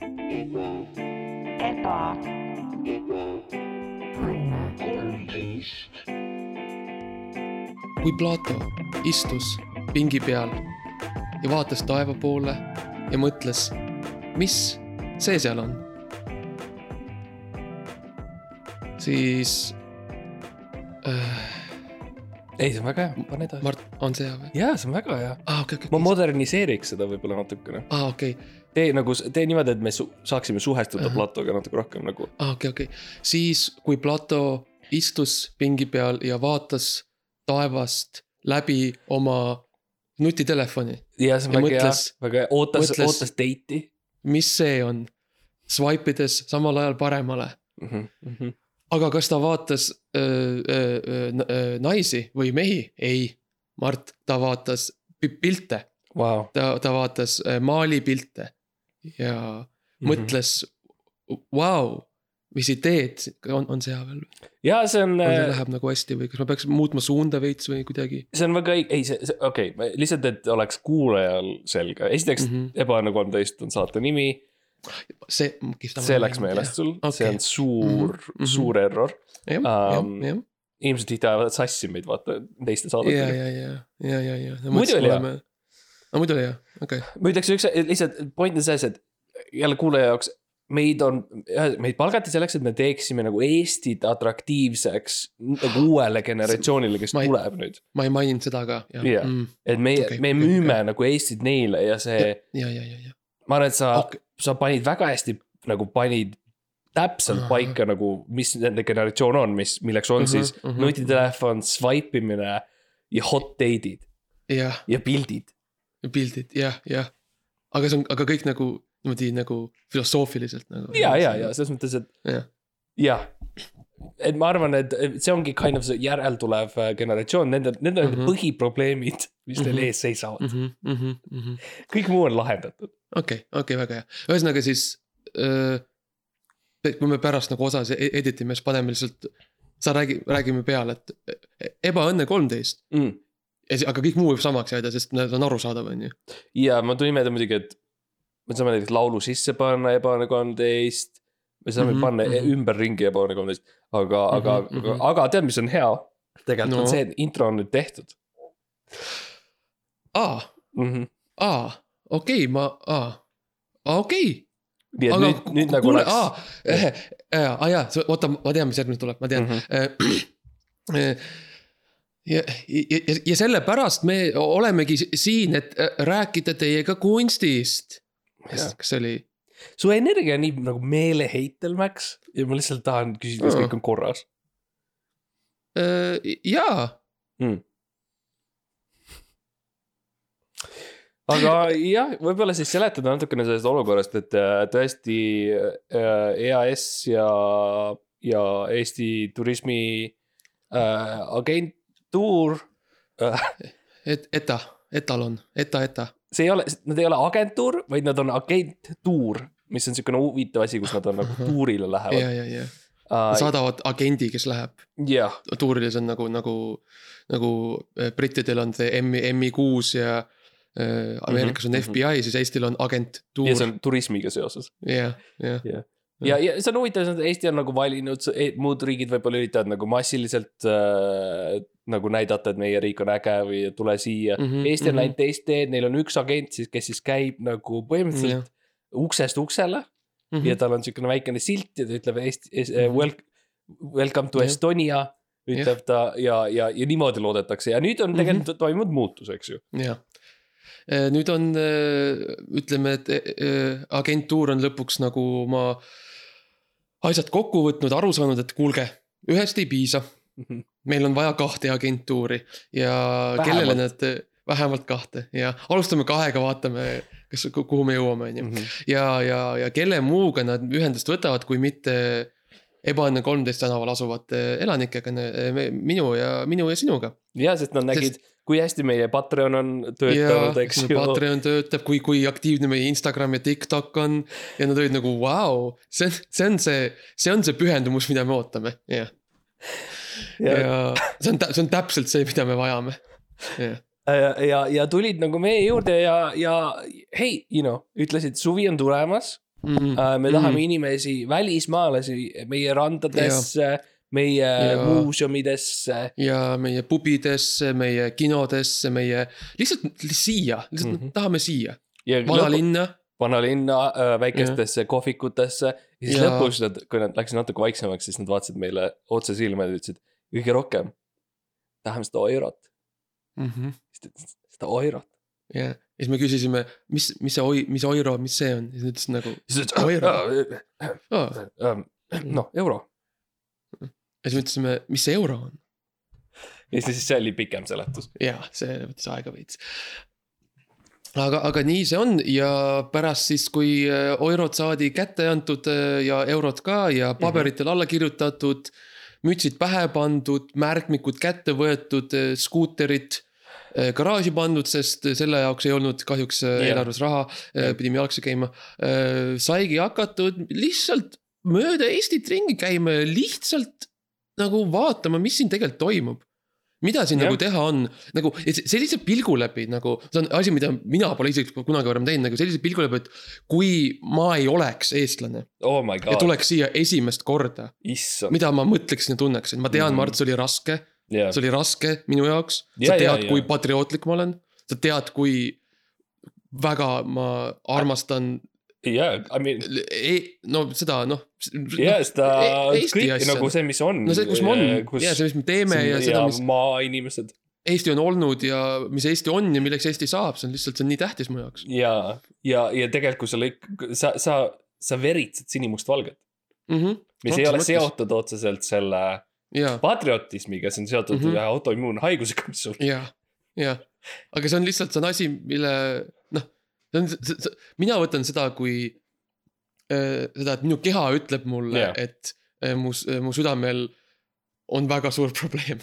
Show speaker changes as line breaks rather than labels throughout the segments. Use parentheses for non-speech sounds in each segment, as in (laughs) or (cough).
It won't.
Get bought.
It won't. Corn taste.
kui Plato istus pingi peal ja vaatas taeva poole ja mõtles , mis see seal on . siis "Äh,
ei , see on väga hea , pane edasi .
Mart , on see hea või ?
jaa , see on väga hea .
aa , okei ,
ma
okei ,
moderniseeriks seda võib-olla natukene .
aa , okei ,
tee nagu , tee niimoodi , et me su saaksime suhestuda
Ahah.
Platoga natuke rohkem nagu .
aa , Ah, okei , okei . siis , kui Plato istus pingi peal ja vaatas taevast läbi oma nutitelefoni ,
jaa , see on
Ja
väga hea
mõtles- ,
väga hea , ootas ,
mõtles-
ootas date'i
mis see on ? Swipe ides samal ajal paremale ,
mm . -hmm. Mm -hmm.
aga kas ta vaatas öö, öö, öö, na- öö, naisi või mehi ? ei , Mart , ta vaatas pi- pilte ,
Wow.
ta , ta vaatas öö, maalipilte ja
Mhm.
mõtles , vau , mis ideed , on , on see hea veel ?
jaa , see on ,
kas see läheb nagu hästi või kas ma peaks muutma suunda veits või kuidagi ?
see on väga õige , ei see , see , okei okay. , lihtsalt , et oleks kuulajal selge , esiteks mm
Mhm.
-hmm. Ebane kolmteist on saate nimi ,
see , kihvt .
see läks meelest sul
Okei.
okay. , see on suur mm ,
mhm.
-hmm. suur error .
jah , jah ,
Um,
jah ,
inimesed tihti ajavad sassi meid , vaata , teiste
ja ,
saadetega .
ja , ja , ja , ja , ja .
Muidu oli hea. .
no muidu oli hea , okei .
ma ütleks üks , lihtsalt point on selles , et jälle kuulaja jaoks , meid on , meid palgati selleks , et me teeksime nagu Eestit atraktiivseks nagu uuele generatsioonile , kes
Ma ei-
tuleb nüüd .
ma ei maininud seda ka , jah . Mm.
Jah.
ja ,
et meie
Okei,
okay, , me
okei,
müüme okay. nagu Eestit neile ja see ,
ja , ja , ja .
ma arvan , et sa
Okei.
okay. , sa panid väga hästi nagu panid täpselt
Ahah.
paika nagu , mis nende generatsioon on , mis , milleks on
Mhm,
uh -huh, siis uh
mhm.
-huh. nutitelefon , swipe imine ja hot date'id
jah ,
ja pildid .
pildid , jah , jah . aga see on , aga kõik nagu niimoodi nagu filosoofiliselt nagu .
ja , ja , ja . selles mõttes , et
Jah.
jah , et ma arvan , et see ongi kind of see järeltulev äh, generatsioon , nende , need on need
Mhm.
põhiprobleemid , mis neil
Mhm.
ees seisavad .
okei ,
kõik muu on lahendatud .
okei , väga hea , ühesõnaga siis . kui me pärast nagu osa e- edit ime , siis paneme lihtsalt , sa räägi , räägime peale , et e- ebaõnne kolmteist .
Mm.
ja see , aga kõik muu võib samaks jääda , sest nad on arusaadav , on ju .
ja ma tulin meelde muidugi , et me saame näiteks laulu sisse panna Ebane kolmteist . me saame mm
Mhm,
-hmm, panna mm
mhm.
-hmm. ümberringi Ebane kolmteist , aga mm , -hmm, aga
Mhm,
mm ,
mhm.
-hmm. aga tead , mis on hea ? tegelikult no.
No.
on see , et intro on nüüd tehtud
aa ,
mm . -hmm.
aa , okei , ma , aa , okei .
nii et aga, nüüd , nüüd nagu
kuule ,
läks
aa , aa jaa , oota , ma tean , mis järgmine tuleb , ma tean .
-hmm.
ja , Äh, ja, ja , ja sellepärast me olemegi si- siin , et äh, rääkida teiega kunstist .
Jah.
kas , kas see oli ,
su energia on nii nagu meeleheitel , Max ja ma lihtsalt tahan küsida , kas
Aa.
kõik on korras .
Äh, jaa ,
aga jah , võib-olla siis seletada natukene sellest olukorrast , et äh, tõesti äh, EAS ja , ja Eesti turismi äh, agentuur .
et ETA , etalon , ETA , ETA .
see ei ole , nad ei ole agentuur , vaid nad on agentuur , mis on niisugune huvitav asi , kus nad on nagu tuurile
ja ,
lähevad .
ja , ja
Uh,
saadavad agendi , kes läheb
jah ,
tuurilis on nagu , nagu , nagu eh, brittidel on see M , MI6 ja eh, Ameerikas on
Mhm, mhm.
FBI , siis Eestil on agentuur
ja see . on turismiga seoses .
jah , jah ,
ja , ja see on huvitav , Eesti on nagu valinud , muud riigid võib-olla üritavad nagu massiliselt äh, nagu näidata , et meie riik on äge või tule siia mm .
Mhm,
-hmm, Eesti on
mhm.
läinud teist teed , neil on üks agent siis , kes siis käib nagu põhimõtteliselt yeah. uksest uksele mm -hmm.
Mm-hmm.
ja tal on niisugune väikene silt ja ta ütleb Eesti ,
Mhm.
welcome , welcome to
Jah.
yeah. Estonia ütleb yeah. ta ja , ja , ja niimoodi loodetakse ja nüüd on
Mhm.
tegelikult mm -hmm. toimunud muutus , eks ju .
jah . nüüd on , ütleme , et eh, eh, agentuur on lõpuks nagu oma asjad kokku võtnud , aru saanud , et kuulge , ühest ei piisa . meil on vaja kahte agentuuri ja vähemalt. kellele nad , vähemalt kahte ja alustame kahega , vaatame , kas , kuhu me jõuame ,
Mhm.
on ju . ja , ja , ja kelle muuga nad ühendust võtavad , kui mitte ebaõnne kolmteist tänaval asuvate elanikega , minu ja minu ja sinuga .
ja sest nad nägid sest... , kui hästi meie Patreon on
ja
töötanud , eks ju .
Patreon töötab , kui , kui aktiivne meie Instagram ja TikTok on ja nad olid nagu vau , see , see on see , see on see pühendumus , mida me ootame , jah . ja see on , see on täpselt see , mida me vajame .
Äh, ja , ja , ja tulid nagu meie juurde ja , ja hei , Ino , ütlesid , suvi on tulemas
mm. .
me tahame
Mhm.
inimesi , välismaalasi meie randadesse , meie
Ja.
muuseumidesse .
ja meie pubidesse , meie kinodesse , meie , lihtsalt siia , lihtsalt mm
Mhm.
-hmm. tahame siia ,
ja lõpu-
vanalinna .
vanalinna äh, väikestesse kohvikutesse . ja siis
Ja.
lõpus nad , kui nad läksid natuke vaiksemaks , siis nad vaatasid meile otse silma ja ütlesid kõige rohkem . tahame seda eurot , Mhm. seda eurot .
ja ja siis me küsisime , mis , mis see oi- , mis oiro , mis see on , siis nad ütlesid nagu
siis
Eurot.
ütles ,
oh. .
noh , euro .
ja siis me ütlesime , mis see euro on .
ja siis see oli pikem seletus .
ja see võttis aega veits . aga , aga nii see on ja pärast siis , kui äh, eurod saadi kätte antud äh, ja eurod ka ja paberitel alla kirjutatud , mütsid pähe pandud , märkmikud kätte võetud , skuuterid äh, garaaži pandud , sest äh, selle jaoks ei olnud kahjuks äh,
Jah.
eelarves raha , pidime jalgsi käima . saigi hakatud lihtsalt mööda Eestit ringi käima ja lihtsalt nagu vaatama , mis siin tegelikult toimub . mida siin
Jah.
nagu teha on , nagu et se- sellise pilgu läbi nagu , see on asi , mida mina pole isiklikult kunagi varem teinud , nagu sellise pilgu läbi , et kui ma ei oleks eestlane
Oh my
ja
god ,
tuleks siia esimest korda ,
issand ,
mida ma mõtleksin ja tunneksin , ma tean ,
Mhm.
Mart , see oli raske ,
jah .
see oli raske minu jaoks , sa
Ja, ja,
tead ,
ja.
kui patriootlik ma olen , sa tead , kui väga ma armastan
jaa , I mean ,
ei , no seda noh .
jaa , seda
E- Eesti
kõike
asja.
nagu see , mis on .
no see , kus me on
Äh,
ja see , mis me teeme ja seda , mis
maainimesed
Eesti on olnud ja mis Eesti on ja milleks Eesti saab , see on lihtsalt , see on nii tähtis mu jaoks
ja , ja , ja tegelikult , kui sa lõik- , sa , sa , sa veritsed sinimustvalget ,
mm . -hmm.
mis
Otses
ei ole
mõttes.
seotud otseselt selle
ja ,
patriotismiga , see on seotud mm
Mhm.
-hmm. ühe autoimmuunhaigusega , mis sul .
ja , ja , aga see on lihtsalt , see on asi , mille noh , see on , mina võtan seda , kui äh, seda , et minu keha ütleb mulle
Jaa.
yeah. , et äh, mu , mu südamel on väga suur probleem .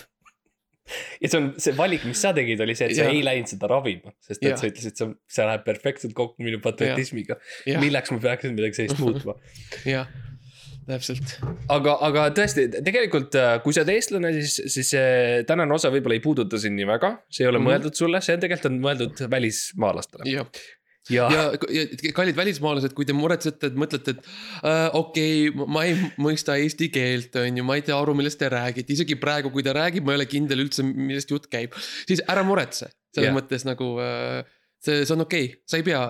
(laughs)
ja see on see valik , mis sa tegid , oli see , et sa
Jaa.
ei läinud seda ravima , sest et
Jah.
sa ütlesid , see on , see läheb perfektselt kokku minu patriotismiga .
Jah.
milleks ma peaksin midagi
(laughs)
sellist muutma ?
jah , täpselt .
aga , aga tõesti , tegelikult äh, kui sa oled eestlane , siis , siis see tänane osa võib-olla ei puuduta sind nii väga , see ei ole mm
Mhm.
-hmm. mõeldud sulle , see on tegelikult on mõeldud välismaalastele .
jah ,
ja, ja... ,
ja, ja kallid välismaalased , kui te muretsete , et mõtlete , et äh, okei okay, , ma ei mõista eesti keelt , on ju , ma ei tea aru , millest te räägite , isegi praegu , kui ta räägib , ma ei ole kindel üldse , millest jutt käib . siis ära muretse , selles
Jah.
yeah. mõttes nagu äh, see , see on okei okay. , sa ei pea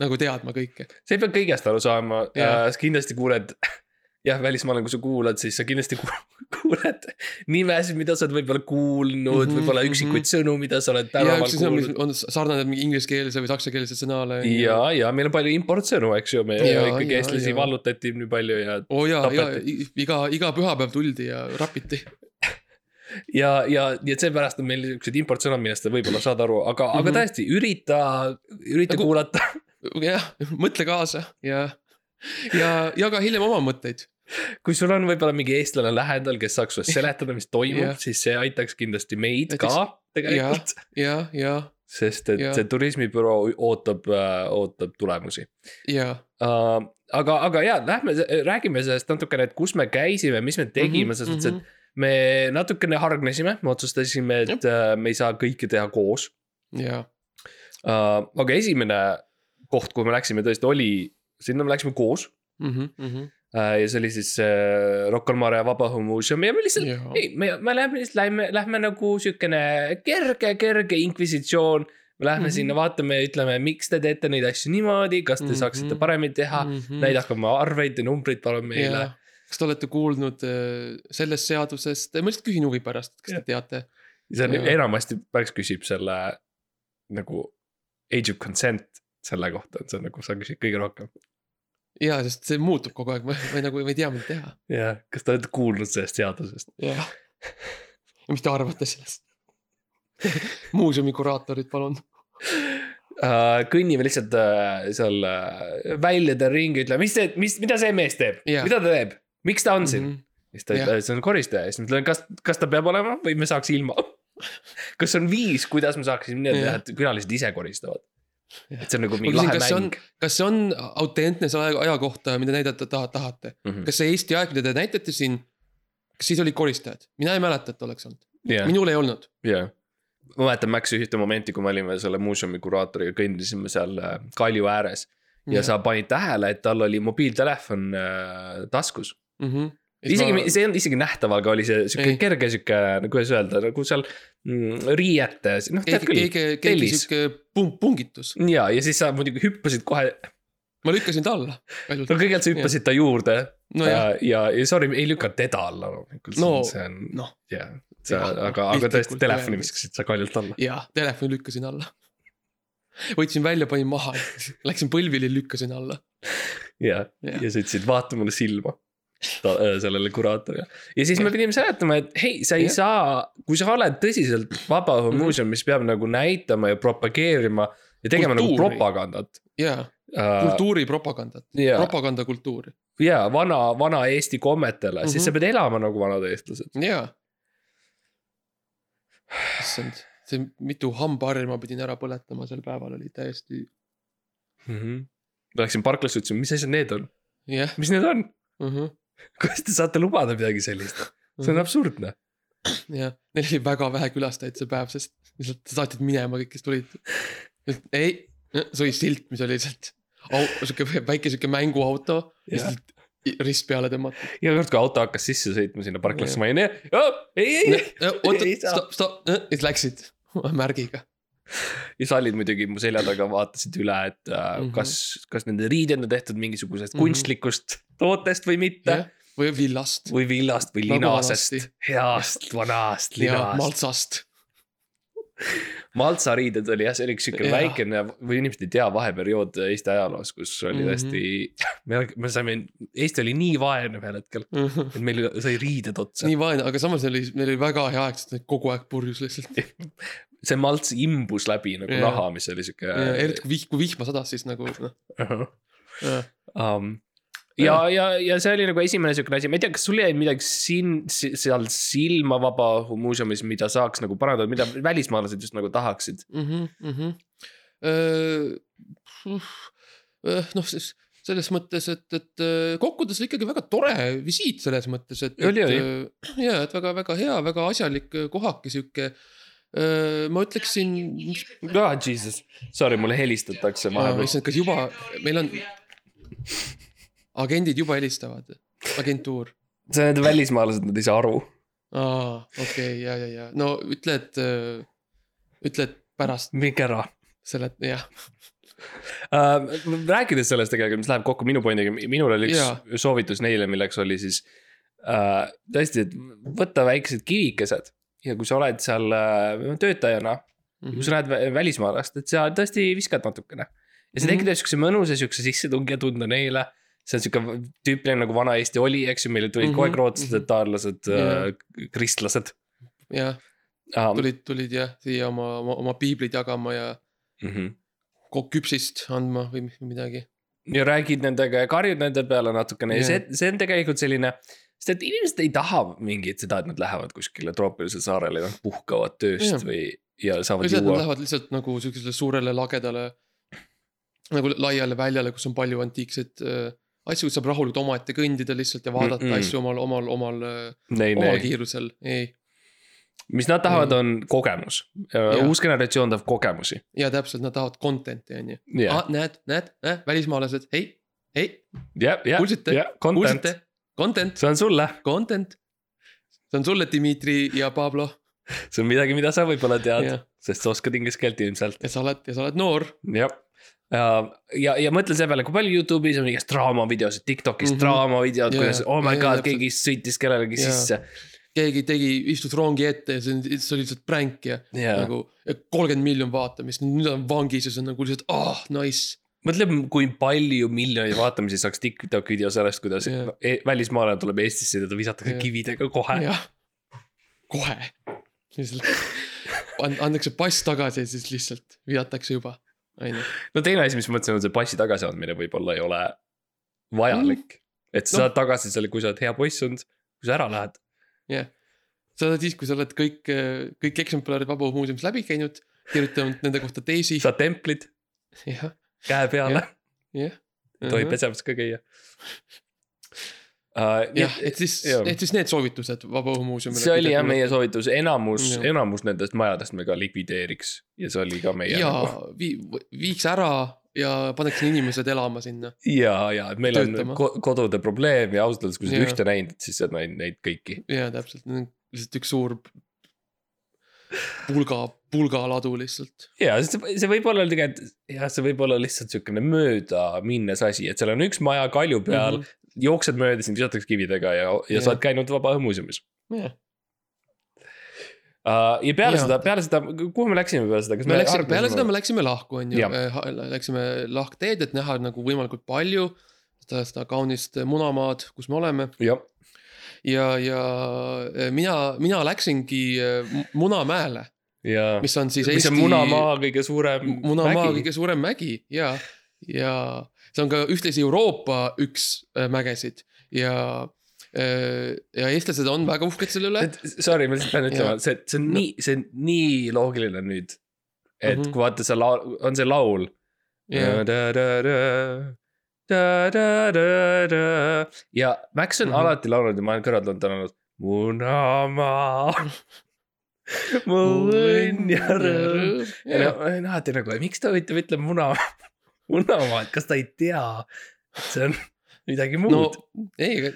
nagu teadma kõike .
sa ei pea kõigest aru saama
Jah.
äh, , sa kindlasti kuuled , (laughs) jah , välismaalane , kui sa kuulad , siis sa kindlasti ku- (laughs) kuuled nimesid , mida sa oled võib-olla kuulnud mm ,
Mhm,
-hmm, võib-olla
mhm.
üksikuid mm -hmm. sõnu , mida sa oled
ja
tänaval
üks sõna , mis
kuulnud .
on sarnane mingi ingliskeelse või saksakeelse sõnale .
ja , ja meil on palju importsõnu , eks ju , me ja,
Jaa,
ikkagi
jaa,
eestlasi
jaa.
vallutati nii palju ja ,
oo oh, jaa , jaa ,
Tapeti.
iga , iga pühapäev tuldi ja rapiti .
ja , ja , ja seepärast on meil niisugused importsõnad , millest sa võib-olla saad aru , aga mm , -hmm.
Mhm.
aga tõesti , ürita , ürita
Nagu-
nagu... kuulata . (laughs)
jah , mõtle kaasa ja , ja jaga hiljem oma mõtteid .
kui sul on võib-olla mingi eestlane lähedal , kes saaks sulle seletada , mis toimub
Jah.
yeah. , siis see aitaks kindlasti meid
Näiteks-
Näiteks... ka tegelikult yeah. .
ja , ja
sest et
Jah.
yeah. see turismibüroo ootab äh, , ootab tulemusi
jaa ,
uh, . aga , aga jaa , lähme , räägime sellest natukene , et kus me käisime , mis me
Mhm,
tegime mm -hmm, , selles mõttes , et me natukene hargnesime , me otsustasime , et äh, me ei saa kõike teha koos
et . mhm. jaa ,
uh, . aga esimene koht , kuhu me läksime tõesti oli , sinna me läksime koos
Mhm.
uh, ja see oli siis uh, Rocca al Mare vabaõhumuuseum ja me lihtsalt
jaa ,
ei , me , me lähme lihtsalt , lähme , lähme nagu siukene kerge , kerge inkvisitsioon . me lähme mm
Mhm.
-hmm. sinna , vaatame , ütleme , miks te teete neid asju niimoodi , kas te mm
Mhm.
-hmm. saaksite paremini teha mm . -hmm. näidake oma arveid ja numbreid palun meile yeah. .
kas te olete kuulnud äh, sellest seadusest , ma lihtsalt küsin huvi pärast , kas te teate ?
see on yeah.
Jaa.
enamasti , Max küsib selle nagu age of consent selle kohta , et see on nagu , sa küsid kõige rohkem .
jaa , sest see muutub kogu aeg , ma ma nagu , ma ei tea , mida teha .
jah , kas te olete kuulnud sellest seadusest ?
jah . ja mis te arvate sellest ? muuseumi kuraatorid , palun .
Uh, kõnnime lihtsalt uh, seal uh, väljade ringi , ütleme , mis see , mis , mida see mees teeb
Jah.
yeah. , mida ta teeb , miks ta on siin mm ? -hmm.
ja ,
siis ta
Jah.
ütleb , see on koristaja , siis ma ütlen , kas , kas ta peab olema või me saaks ilma . (laughs) kas on viis , kuidas me saaksime nii teha
Jah. ,
et külalised ise koristavad ?
Jah.
et see on nagu mingi
Ma küsin,
lahe
kas see on-
mäng .
kas see on autentne see aja , ajakohta , mida näidata taha- tahate ?
Mhm.
kas see Eesti aeg , mida te näitate siin , kas siis olid koristajad ? mina ei mäleta , et oleks olnud .
jah ,
minul ei olnud .
jah . ma mäletan , Max ühte momenti , kui me olime selle muuseumi kuraatoriga , kõndisime seal äh, kalju ääres ja sa panid tähele , et tal oli mobiiltelefon äh, taskus .
mm . -hmm.
isegi ma... , see ei olnud isegi nähtaval , aga oli see sihuke
Ei.
kerge sihuke , kuidas öelda , nagu seal mm, riietes , noh tead
keegi ,
küll .
keegi , keegi
tellis.
sihuke pung- , pungitus .
ja , ja siis sa muidugi hüppasid kohe ,
ma lükkasin ta alla
no
paljult .
kõigepealt sa hüppasid ta juurde
nojah ,
ja , ja, ja sorry , ei lükka teda alla loomulikult
No,
no, , see on
noh.
jah , sa ,
Jah,
aga , aga
piltlikult
tõesti telefoni
öeldes.
viskasid sa kaljult alla .
jaa , telefoni lükkasin alla . võtsin välja , panin maha , läksin põlvili , lükkasin alla .
ja ,
Jah.
ja sa ütlesid , vaata mulle silma ta,
(laughs)
äh, sellele kuraatorile . ja siis me pidime seletama , et hei , sa ei
Jah. Mhm.
saa , kui sa oled tõsiselt vabaõhumuuseum , mis peab nagu näitama ja propageerima ja tegema Kultuuri. nagu
Kultuuri.
propagandat
jaa ,
äh, .
kultuuripropagandat ,
ja ,
propagandakultuuri .
ja vana , vana Eesti kommetele mm , -hmm.
Mhm.
siis sa pead elama nagu vanad eestlased .
jaa . issand , see mitu hambaharja ma pidin ära põletama sel päeval oli täiesti ,
Mm
Mhm.
-hmm. ma läksin parklasse , ütlesin , mis asjad need on ,
jah . mhm.
mis need on , (laughs) kuidas te saate lubada midagi sellist , see on absurdne .
jah , neil oli väga vähe külastajaid see päev , sest lihtsalt saatid minema kõik , kes tulid . ei , see oli silt , mis oli lihtsalt au- , sihuke väike sihuke mänguauto , lihtsalt rist peale
(laughs)
tõmmati .
iga kord , kui auto hakkas sisse sõitma sinna parklasse , ma olin , ei , ei , ei
oota
Ei , saa.
stopp , stopp , ja siis läksid (laughs) märgiga .
ja sallid muidugi mu selja taga vaatasid üle , et äh, mm
Mhm.
-hmm. kas , kas nende riided on tehtud mingisugusest mm
Mhm.
-hmm. kunstlikust tootest või mitte yeah. .
või villast
või villast või
Nagu
linasest
vanasti. ,
heast vanast
ja
linast . (laughs)
maltsast .
Maltsa riided oli jah , see oli üks sihuke
Jah.
väikene või inimesed ei tea vaheperiood Eesti ajaloos , kus oli
Mhm.
tõesti mm , -hmm. (laughs) me , me saime , Eesti oli nii vaene ühel hetkel , et meil sai riided otsa .
nii vaene , aga samas neil oli , neil oli väga hea aeg , sest nad kogu aeg purjus lihtsalt .
see malts imbus läbi nagu
Jah.
yeah. naha , mis oli sihuke (laughs)
eriti kui vihku , vihma sadas , siis nagu noh .
yeah. . um, . ja , ja , ja see oli nagu esimene siukene asi , ma ei tea , kas sul jäi midagi siin , seal silma Vabaõhumuuseumis , mida saaks nagu parandada , mida välismaalased just nagu tahaksid ?
mhmh , mhmh . Äh, noh , siis selles mõttes , et , et öö, kokkuvõttes oli ikkagi väga tore visiit selles mõttes , et .
Oli, oli.
ja , et väga-väga hea , väga asjalik öö, kohake sihuke . ma ütleksin ,
ah , jesus , sorry , mulle helistatakse vahepeal .
issand , kas juba , meil on , agendid juba helistavad , agentuur .
see , need välismaalased , nad ei saa aru .
aa , okei , ja , ja , ja no ütle , et , ütle , et pärast
minge ära
selet- , jah ,
uh, . rääkides sellest tegelikult , mis läheb kokku minu pointiga , minul oli üks
Jaa.
yeah. soovitus neile , milleks oli siis uh, tõesti , et võtta väiksed kivikesed ja kui sa oled seal uh, töötajana ja kui
Mhm.
sa lähed vä- välismaalast , et sa tõesti viskad natukene . ja see
Mhm.
tekitab siukse mõnusa siukse sissetungija tunde neile . see on siuke tüüpiline nagu vana Eesti oli , eks ju , meile tulid mm
Mhm,
-hmm. kogu aeg rootslased , taanlased
Jaa.
yeah. , kristlased
jah .
um, .
tulid , tulid jah , siia oma , oma , oma piiblit jagama ja
Mm -hmm.
ko- küpsist andma või mi- midagi .
ja räägid nendega ja karjud nende peale natukene ja
Jaa.
see , see on tegelikult selline , sest et inimesed ei taha mingit seda , et nad lähevad kuskile troopilisele saarele ja nad puhkavad tööst
Jaa.
yeah. või ja saavad
lihtsalt nad
juua .
lähevad lihtsalt nagu siukesele suurele lagedale nagu laiale väljale , kus on palju antiikseid äh, asju , kus saab rahulikult omaette kõndida lihtsalt ja vaadata mm
Mm-mm.
-mm. asju omal , omal , omal ,
Nei,
omal
nei.
kiirusel , ei .
mis nad tahavad , on kogemus .
Jah.
uus generatsioon tahab kogemusi .
ja täpselt , nad tahavad content'i on ju .
jah ,
näed , näed äh, , välismaalased , ei , ei ,
jah , jah ,
kuulsite?
jah , content
kuulsite , content ,
see on sulle ,
content . see on sulle , Dmitri ja Pablo
see on midagi , mida sa võib-olla tead ,
ja,
sest sa oskad inglise keelt ilmselt ,
ja sa oled , ja sa oled noor
jah . ja , ja mõtle selle peale , kui palju Youtube'is on igast draamavideosid , Tiktokis mm
Mhm.
-hmm. draamavideod
Jaa,
yeah. , kuidas oh my
jaa,
god ,
täpselt.
keegi sõitis kellelegi
Jaa.
yeah. sisse .
keegi tegi , istus rongi ette ja see on , see oli lihtsalt pränk ja
ja nagu...
nagu kolmkümmend miljonit vaatamist , nüüd on vangis ja see on nagu lihtsalt ah oh, nice .
mõtle , kui palju miljoneid vaatamisi saaks Tiktok video sellest , kuidas
Jaa.
yeah. no, e- välismaalane tuleb Eestisse ja teda visatakse
Jaa.
yeah. kividega kohe yeah. .
jah , kohe . lihtsalt an- antakse pass tagasi ja siis lihtsalt visatakse juba , on ju .
no teine asi , mis ma mõtlesin , on see passi tagasiandmine võib-olla ei ole vajalik mm. . et sa
No.
no. saad tagasi selle , kui sa oled hea poiss olnud , kui sa ära lähed .
sa oled siis , kui sa oled kõik , kõik eksemplarid Vabaõhumuuseumis läbi käinud , kirjutanud nende kohta teisi ,
saad templid
jah ,
käe peale .
jah .
tohib pesemas ka käia .
jah , et siis ,
jah.
et siis need soovitused Vabaõhumuuseumile .
see oli jah meie soovitus , enamus
Jah. ,
enamus nendest majadest me ka likvideeriks ja see oli ka meie .
ja vii- , viiks ära ja paneksin inimesed elama sinna .
ja , ja et meil
Töötama.
on ko kodude probleem ja ausalt öeldes , kui sa oled
Jaa.
ühte näinud , et siis sa oled näinud neid kõiki .
jaa , täpselt , lihtsalt üks suur pulga , pulgaladu lihtsalt .
ja see , see võib olla tegelikult , jah , see võib olla lihtsalt siukene möödaminnes asi , et seal on üks maja kalju peal mm , -hmm. jooksed mööda , sind visatakse kividega ja , ja
Mhm. Jaa.
sa oled käinud Vabaõhumuuseumis
me
uh, . ja peale
Jaa.
ja. seda , peale seda , kuhu me läksime peale seda , kas me,
läksime , peale seda me läksime lahku , on ju
Jah. ,
läksime lahkteed , et näha nagu võimalikult palju seda , seda kaunist munamaad , kus me oleme
jah ,
ja , ja eh, mina , mina läksingi eh, mu- Munamäele ,
ja mis,
mis on siis
mis
Eesti
on Munamaa kõige suurem
M- Munamaa
mägi.
kõige suurem mägi ja , ja see on ka ühtlasi Euroopa üks äh, mägesid ja , ja eestlased on väga uhked selle üle .
et sorry , ma lihtsalt pean ütlema , see , see on
No.
nii , see on nii loogiline nüüd . et mm
Mhm.
-hmm. kui vaata see laul , on see laul .
ja ,
ja Max on mm
Mhm.
-hmm. alati laulnud ja ma olen kõrvalt olnud , ta on olnud (laughs) Munamaa . mu õnn ja rõõm . ja
ja ,
no- ma olen alati nagu , miks ta huvitav ütleb (laughs) Munamaa , Munamaa , et kas ta ei tea , et see on midagi muud
no
no, .
ei ,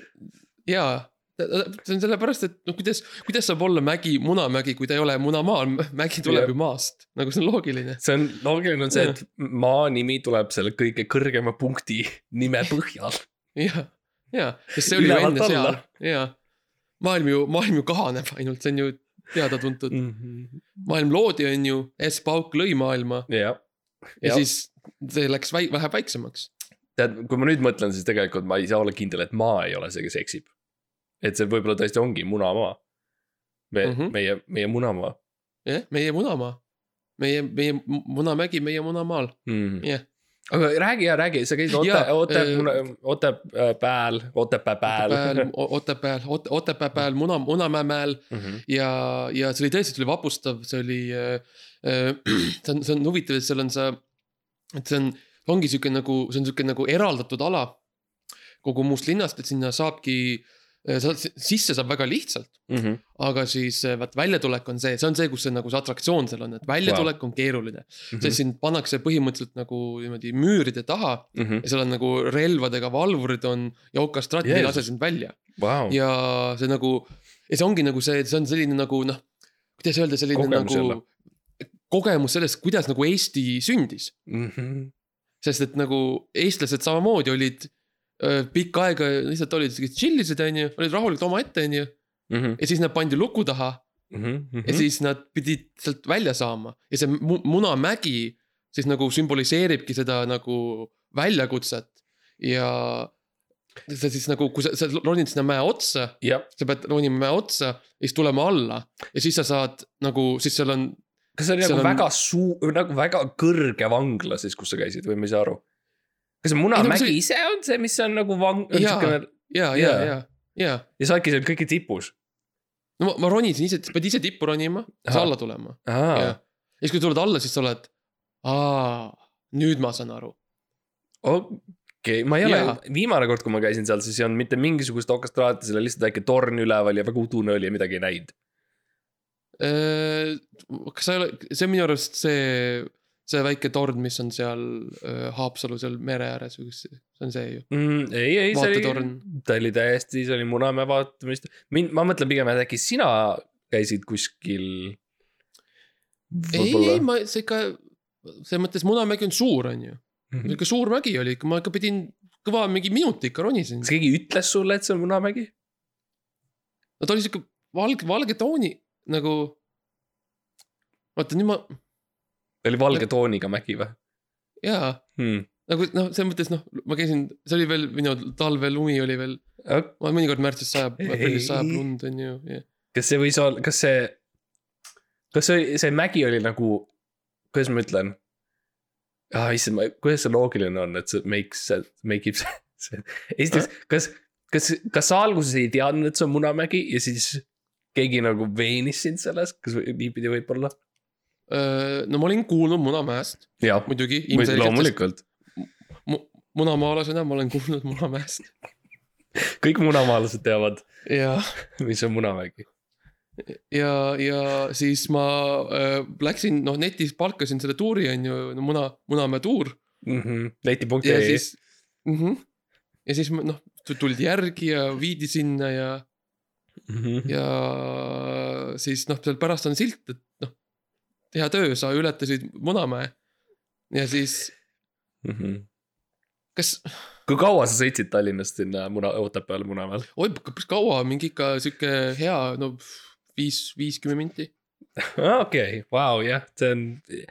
ja see on sellepärast , et noh , kuidas , kuidas saab olla mägi Munamägi , kui ta ei ole Munamaal , (laughs) mägi
Jah.
tuleb ju maast , nagu see on loogiline .
see on , loogiline on see , et maa nimi tuleb selle kõige kõrgema punkti nime põhjal .
ja , ja , sest see oli ju
Ülevalt
enne seal
alla. ,
ja . maailm ju , maailm ju kahaneb ainult , see on ju teada-tuntud .
Mhm.
maailm loodi , on ju , S Pauk lõi maailma
jah .
ja, ja siis see läks väi- , vähe väiksemaks .
tead , kui ma nüüd mõtlen , siis tegelikult ma ei saa olla kindel , et maa ei ole see , kes eksib . et see võib-olla tõesti ongi munamaa . me mm ,
Mhm.
-hmm. meie , meie munamaa
jah , meie munamaa , meie , meie mu- Munamägi , meie munamaal .
mm.
Jah. .
aga räägi ja räägi , sa käisid Ote-
Jaa, , äh,
Otepää , Otepääl , Otepää äh, pääl . (laughs)
Otepääl , Otepääl , Otepää pääl , Muna , Munamäemäel
Mhm.
ja , ja see oli tõesti , see oli vapustav , see oli äh, . Äh, (clears throat) see on , see on huvitav , et seal on see , et see on , ongi sihuke nagu , see on sihuke nagu eraldatud ala kogu muust linnast , et sinna saabki , sa sisse saab väga lihtsalt .
Mhm.
aga siis eh, vaat väljatulek on see , see on see , kus see nagu see atraktsioon seal on , et väljatulek wow. on keeruline mm .
Mhm.
-hmm. sest sind pannakse põhimõtteliselt nagu niimoodi müüride taha
Mhm.
ja seal on nagu relvadega valvurid on ja okastraat ei
Jeesus. Oh.
lase sind välja
Vau ,
ja see nagu , ja see ongi nagu see , see on selline nagu noh , kuidas öelda , selline
Kogemus
kogemus
jälle.
nagu kogemus sellest , kuidas nagu Eesti sündis ,
Mhm.
sest et nagu eestlased samamoodi olid öö, pikka aega lihtsalt olid siuksed tšillised , onju , olid rahulikult omaette , onju .
Mhm.
ja siis nad pandi luku taha ja siis nad pidid sealt välja saama ja see mu- munamägi siis nagu sümboliseeribki seda nagu väljakutset ja sa siis nagu , kui sa , sa ronid sinna mäe otsa ,
jah ,
sa pead ronima mäe otsa ja siis tulema alla ja siis sa saad nagu , siis seal on ,
kas see oli
Seal
nagu
on-
väga suur , nagu väga kõrge vangla siis , kus sa käisid või ma ei saa aru ? kas see
Ei, no
Munamägi
see-
ise on see , mis on nagu vang- ,
Jaa.
niisugune
ja , ja ,
Jaa.
ja , ja .
ja sa oledki seal kõige tipus .
no ma, ma ronisin ise , sa pead ise tippu ronima ,
Ahah.
sa alla tulema ja , ja
aa ,
siis , kui tuled alla , siis sa oled , aa , nüüd ma saan aru .
okei , ma ei ole
Jaa. ,
viimane kord , kui ma käisin seal , siis ei olnud mitte mingisugust okastraati , seal oli lihtsalt väike torn üleval ja väga udune oli ja midagi ei näinud .
Äh, kas sa ei ole , see on minu arust see , see väike torn , mis on seal öö, Haapsalu seal mere ääres või kus see , see on see ju .
Mm, ei , ei , see oli
vaatetorn ,
ta oli täiesti , see oli Munamäe vaatamist , mind , ma mõtlen pigem , et äkki sina käisid kuskil .
ei , ei , ma , see ikka , selles mõttes Munamägi on suur , on ju .
Mhm.
niisugune suur mägi oli , ma ikka pidin kõva mingi minuti ikka ronisin .
kas keegi ütles sulle , et see on Munamägi ?
no ta oli sihuke valge , valge tooni nagu . vaata nüüd ma ,
ta oli valge tooniga mägi või
jaa ,
hmm. ?
nagu noh , selles mõttes noh , ma käisin , see oli veel minu talvelumi oli veel , ma mõnikord märtsis sajab , aprillis sajab
Ei.
lund , on ju , jah .
kas see võis olla , kas see , kas see , see mägi oli nagu , kuidas ma ütlen ? ah issand , ma , kuidas see loogiline on , et see makes , make ib see, see. , esiteks , kas , kas , kas sa alguses ei teadnud , et see on Munamägi ja siis keegi nagu veenis sind selles , kas või- niipidi võib olla ?
Öö, äh, no ma olin kuulnud Munamäest ,
jah ,
muidugi .
loomulikult ,
munamaalasena ma olen kuulnud Munamäest .
kõik munamaalased teavad ,
ja ,
mis on Munamägi .
ja , ja äh, siis ma öö, läksin , noh netis palkasin selle tuuri on ju , no muna , Munamäe tuur .
Mhm.
leiti.ee
ja siis mm . -hmm. ja siis ma- noh , tuldi järgi ja viidi sinna ja ,
Mhm.
ja siis noh , seal pärast on silt , et noh , hea töö , sa ületasid Munamäe . ja siis ,
Mhm.
kas ,
kui kaua sa sõitsid Tallinnast sinna Muna , Otepääle Munamäel ?
oi , kas kaua , mingi ikka sihuke hea , no viis , viiskümmend minti .
okei , vau , jah , see on . see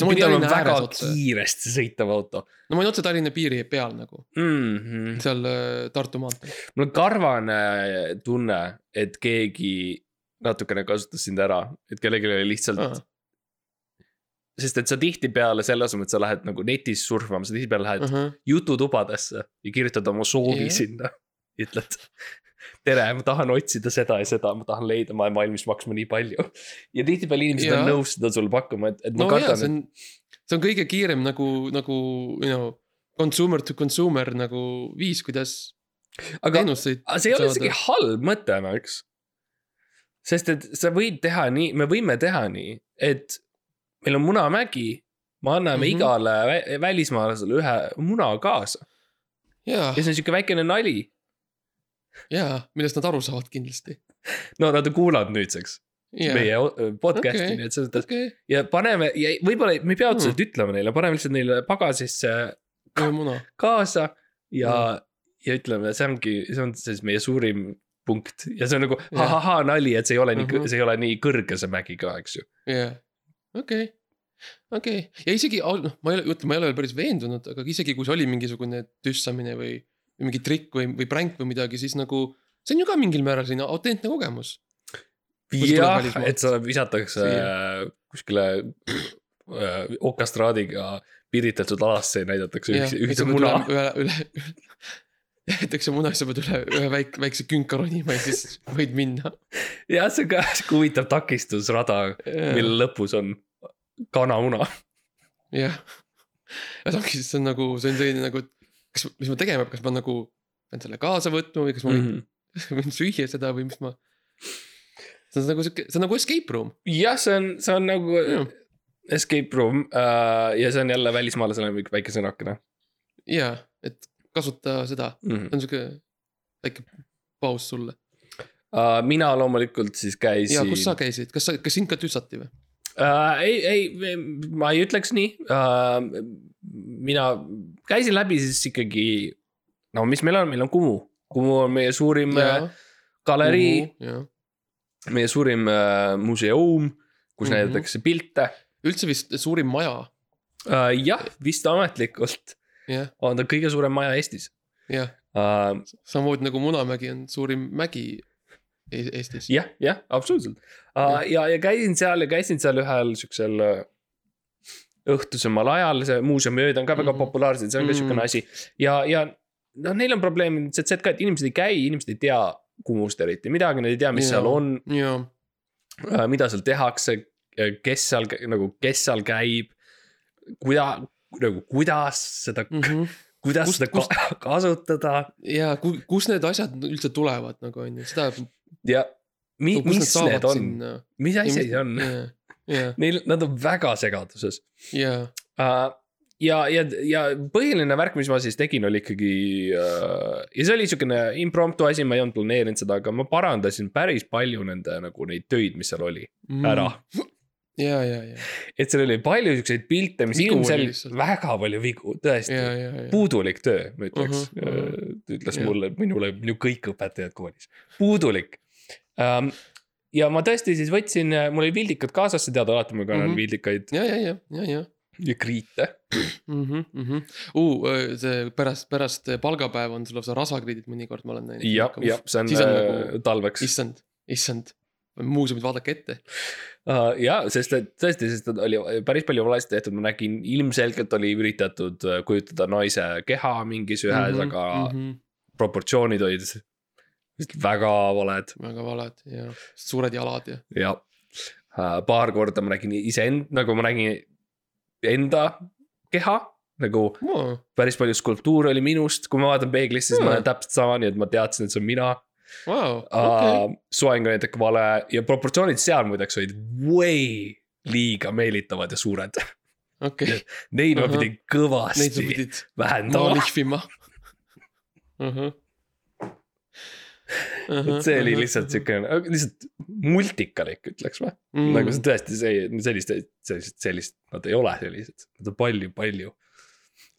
No mul
pidi olema
Tallinna
väga
ääres otse.
kiiresti sõitav auto
no ma olin otse Tallinna piiri peal nagu ,
mm . -hmm.
seal äh, Tartu maanteel .
mul on karvane tunne , et keegi natukene kasutas sind ära , et kellelgi oli lihtsalt ah. , sest et sa tihtipeale selle asemel , et sa lähed nagu netis surfama , sa tihtipeale lähed jututubadesse ja kirjutad oma soovi
Jah.
yeah. sinna . ütled , tere , ma tahan otsida seda ja seda , ma tahan leida , ma olen valmis maksma nii palju . ja tihtipeale inimesed yeah. on
Jah.
nõus seda sulle pakkuma , et , et ma
no
no,
jaa , see
kardan ,
on , see on kõige kiirem nagu , nagu you know , consumer to consumer nagu viis , kuidas
et
aga,
aga
teenuseid
aga see ei ole
saada.
isegi halb mõte , Max . sest et sa võid teha nii , me võime teha nii , et meil on munamägi , me anname mm
Mhm.
-hmm. igale vä- välismaalasele ühe muna kaasa
jaa
ja , see on sihuke väikene nali .
jaa , millest nad aru saavad kindlasti .
no nad on kuulanud nüüdseks
okei ,
yeah. meie o-
Okei.
podcast'i okay. , nii et selles mõttes ja paneme ja võib-olla me ei pea otseselt mm. ütlema neile , paneme lihtsalt neile pagasisse
ühe muna .
kaasa ja mm. , ja ütleme , see ongi , see on siis meie suurim punkt ja see on nagu
Jah.
ha-ha-ha nali , et see ei ole nii
Mhm.
mm , -hmm. see ei ole nii kõrge see mägi ka , eks ju .
jaa , okei , okei ja isegi , noh , ma ei ole , ütleme , ma ei ole veel päris veendunud , aga isegi kui see oli mingisugune tüssamine või või mingi trikk või , või pränk või midagi , siis nagu see on ju ka mingil määral selline autentne kogemus . Kus tuleb
jah ,
välismaalt?
et sa visatakse
Siia.
kuskile äh, okastraadiga piiritletud alasse ja näidatakse
Jah,
ühte ,
et sa
ühte
pead
muna .
üle , üle , üle , (laughs) jäetakse muna , siis sa pead üle ühe väike , väikse künka ronima ja siis võid minna .
jah , see on ka (laughs) sihuke huvitav takistusrada , mille lõpus on kanamuna .
jah , ja see ongi , see on nagu , see on selline nagu , et kas , mis ma tegema peab , kas ma nagu pean selle kaasa võtma või kas ma võin, võin süüa seda (laughs) või mis ma . see on nagu sihuke , see on nagu escape room .
jah , see on , see on nagu
Jah.
escape room uh, ja see on jälle välismaalasele mingi väike sõnakene
jaa , et kasuta seda ,
mm . -hmm.
see on sihuke väike paus sulle .
Uh, mina loomulikult siis käisin .
ja kus sa käisid , kas sa , kas sind ka tüssati või ?
uh, ? ei , ei , ma ei ütleks nii uh, . mina käisin läbi siis ikkagi , no mis meil on , meil on Kumu . Kumu on meie suurim uh, galerii mm ,
jaa .
-hmm. meie suurim uh, muuseum , kus mm
Mhm.
-hmm. näidatakse pilte
üldse vist suurim maja ,
uh, . jah , vist ametlikult
jah ,
on ta kõige suurem maja Eestis
jah .
uh, .
samamoodi nagu Munamägi on suurim mägi E- Eestis .
jah , jah , absoluutselt uh, . ja , ja käisin seal ja käisin seal ühel siuksel äh, õhtusemal ajal , see muuseumiööd on ka väga
Mhm.
mm. populaarsed , see on ka
Mhm.
mm. siukene asi . ja , ja noh , neil on probleem lihtsalt see , et ka , et inimesed ei käi , inimesed ei tea Kumust eriti midagi , nad ei tea , mis
Jaa.
yeah. seal on
jaa ,
äh, , mida seal tehakse , kes seal nagu , kes seal käib , kuida- , nagu kuidas seda mm. , kuidas
Mhm. Kust-
kust, seda kust? Ka (laughs) kasutada
jaa , kus need asjad üldse tulevad nagu on ju , seda .
ja mi, mis need on , mis asi see on ?
jaa ,
Neil , nad on väga segaduses
jaa ,
Uh, ja , ja , ja põhiline värk , mis ma siis tegin , oli ikkagi uh, ja see oli siukene impromptu asi , ma ei olnud planeerinud seda , aga ma parandasin päris palju nende nagu neid töid , mis seal oli mm. ära .
Mhm. jaa , jaa , jaa ,
et seal oli palju siukseid pilte , mis
Vigu oli
ilmselt
lihtsalt.
väga palju vigu , tõesti
jaa , jaa , jaa .
puudulik töö , ma ütleks
Mhm,
uh , -huh,
mhm.
ütles
Jah.
mulle , minule minu kõik õpetajad koolis , puudulik um, . ja ma tõesti siis võtsin , mul oli vildikad kaasas , sa tead alati , ma kannan mm
Mhm.
-hmm. vildikaid
jaa , jaa , jaa , jaa , jaa .
ja kriite
mhmh , mhmh . uu , see pärast , pärast palgapäeva on sul lausa rasvakriidid mõnikord , ma olen näinud .
jah , jah , see on,
Siis on
on
nagu-
nagu... talveks Is... .
issand , issand , muuseumid vaadake ette .
Uh, ja sest , et tõesti , sest et oli päris palju valesti tehtud , ma nägin , ilmselgelt oli üritatud äh, kujutada naise keha mingis ühes mm , -hmm, aga mm -hmm.
-hmm.
proportsioonid olid vist väga valed
väga valed ja suured jalad ja .
ja uh, paar korda ma nägin iseend- , nagu ma nägin enda keha nagu päris palju skulptuure oli minust , kui ma vaatan peeglisse , siis mm. ma
Hmm.
olen täpselt sama , nii et ma teadsin , et see on mina
Vau , okei .
okay. . soeng oli natuke vale ja proportsioonid seal muideks olid way liiga meelitavad ja suured .
okei okay. ,
Neid ma
Ahah.
pidin
neid sa
kõvasti
pidid maha
vähendama .
lihvima uh . -huh. Uh
et see oli lihtsalt siuke , lihtsalt multikalik , ütleks ma .
mm.
nagu see tõesti see , sellist , sellist , sellist , nad ei ole sellised , nad on palju , palju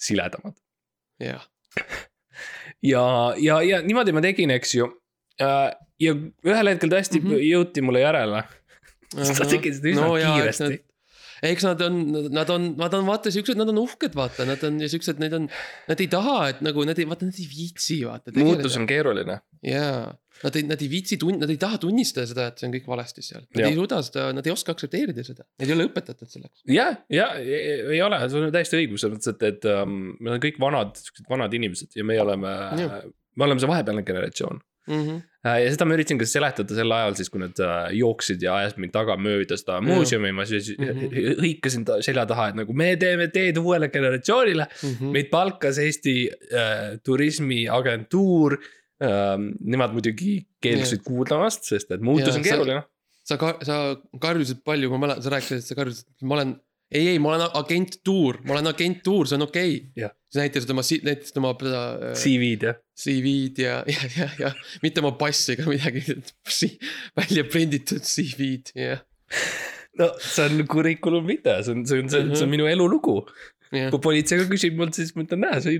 siledamad .
jah ,
ja , ja , ja niimoodi ma tegin , eks ju . ja ühel hetkel tõesti mm
Mhm.
-hmm. jõuti mulle järele uh . -huh. ta
Ahah.
tegi seda üsna
No
no,
jaa, eks
kiiresti .
eks nad on , nad on , nad on vaata siuksed , nad on uhked , vaata , nad on ja siuksed , need on , nad ei taha , et nagu nad ei , vaata nad ei viitsi vaata .
muutus . on keeruline .
jaa , nad ei , nad ei viitsi tun- , nad ei taha tunnistada seda , et see on kõik valesti seal . Nad
Jah.
ja. ei suuda seda , nad ei oska aktsepteerida seda , neid ei ole õpetatud selleks .
ja , ja ei ei ole , sul on täiesti õigus selles mõttes , et , et um, me oleme kõik vanad , siuksed vanad inimesed ja meie oleme
Jah. ,
me oleme see vahepealne generatsioon .
Mm -hmm.
Äh, ja seda ma üritasin ka seletada sel ajal siis , kui nad äh, jooksid ja ajasid mind taga mööda seda muuseumi , ma siis
Mhm.
hõ- hõikasin ta selja taha , et nagu me teeme teed uuele generatsioonile .
mm -hmm.
meid palkas Eesti äh, turismiagentuur ähm, . Nemad muidugi keeldusid kuulamast , sest et muutus
Jaa,
on
sa-
keeruline .
sa ka- , sa karjusid palju , ma mäletan , sa rääkisid , et sa karjusid , ma olen , ei , ei , ma olen agentuur , ma olen agentuur , see on okei
Jah.
okay. . sa näitasid oma , näitasid oma seda äh,
CV-d jah .
CV-d ja , (laughs) ja , ja , ja mitte oma passi ega midagi , välja prinditud CV-d , jah .
no see on curriculum vitae , see on , see on , see on- see on
Mhm.
minu elulugu .
jah ,
kui politsei ka küsib mult , siis ma ütlen , näe , sa ei ,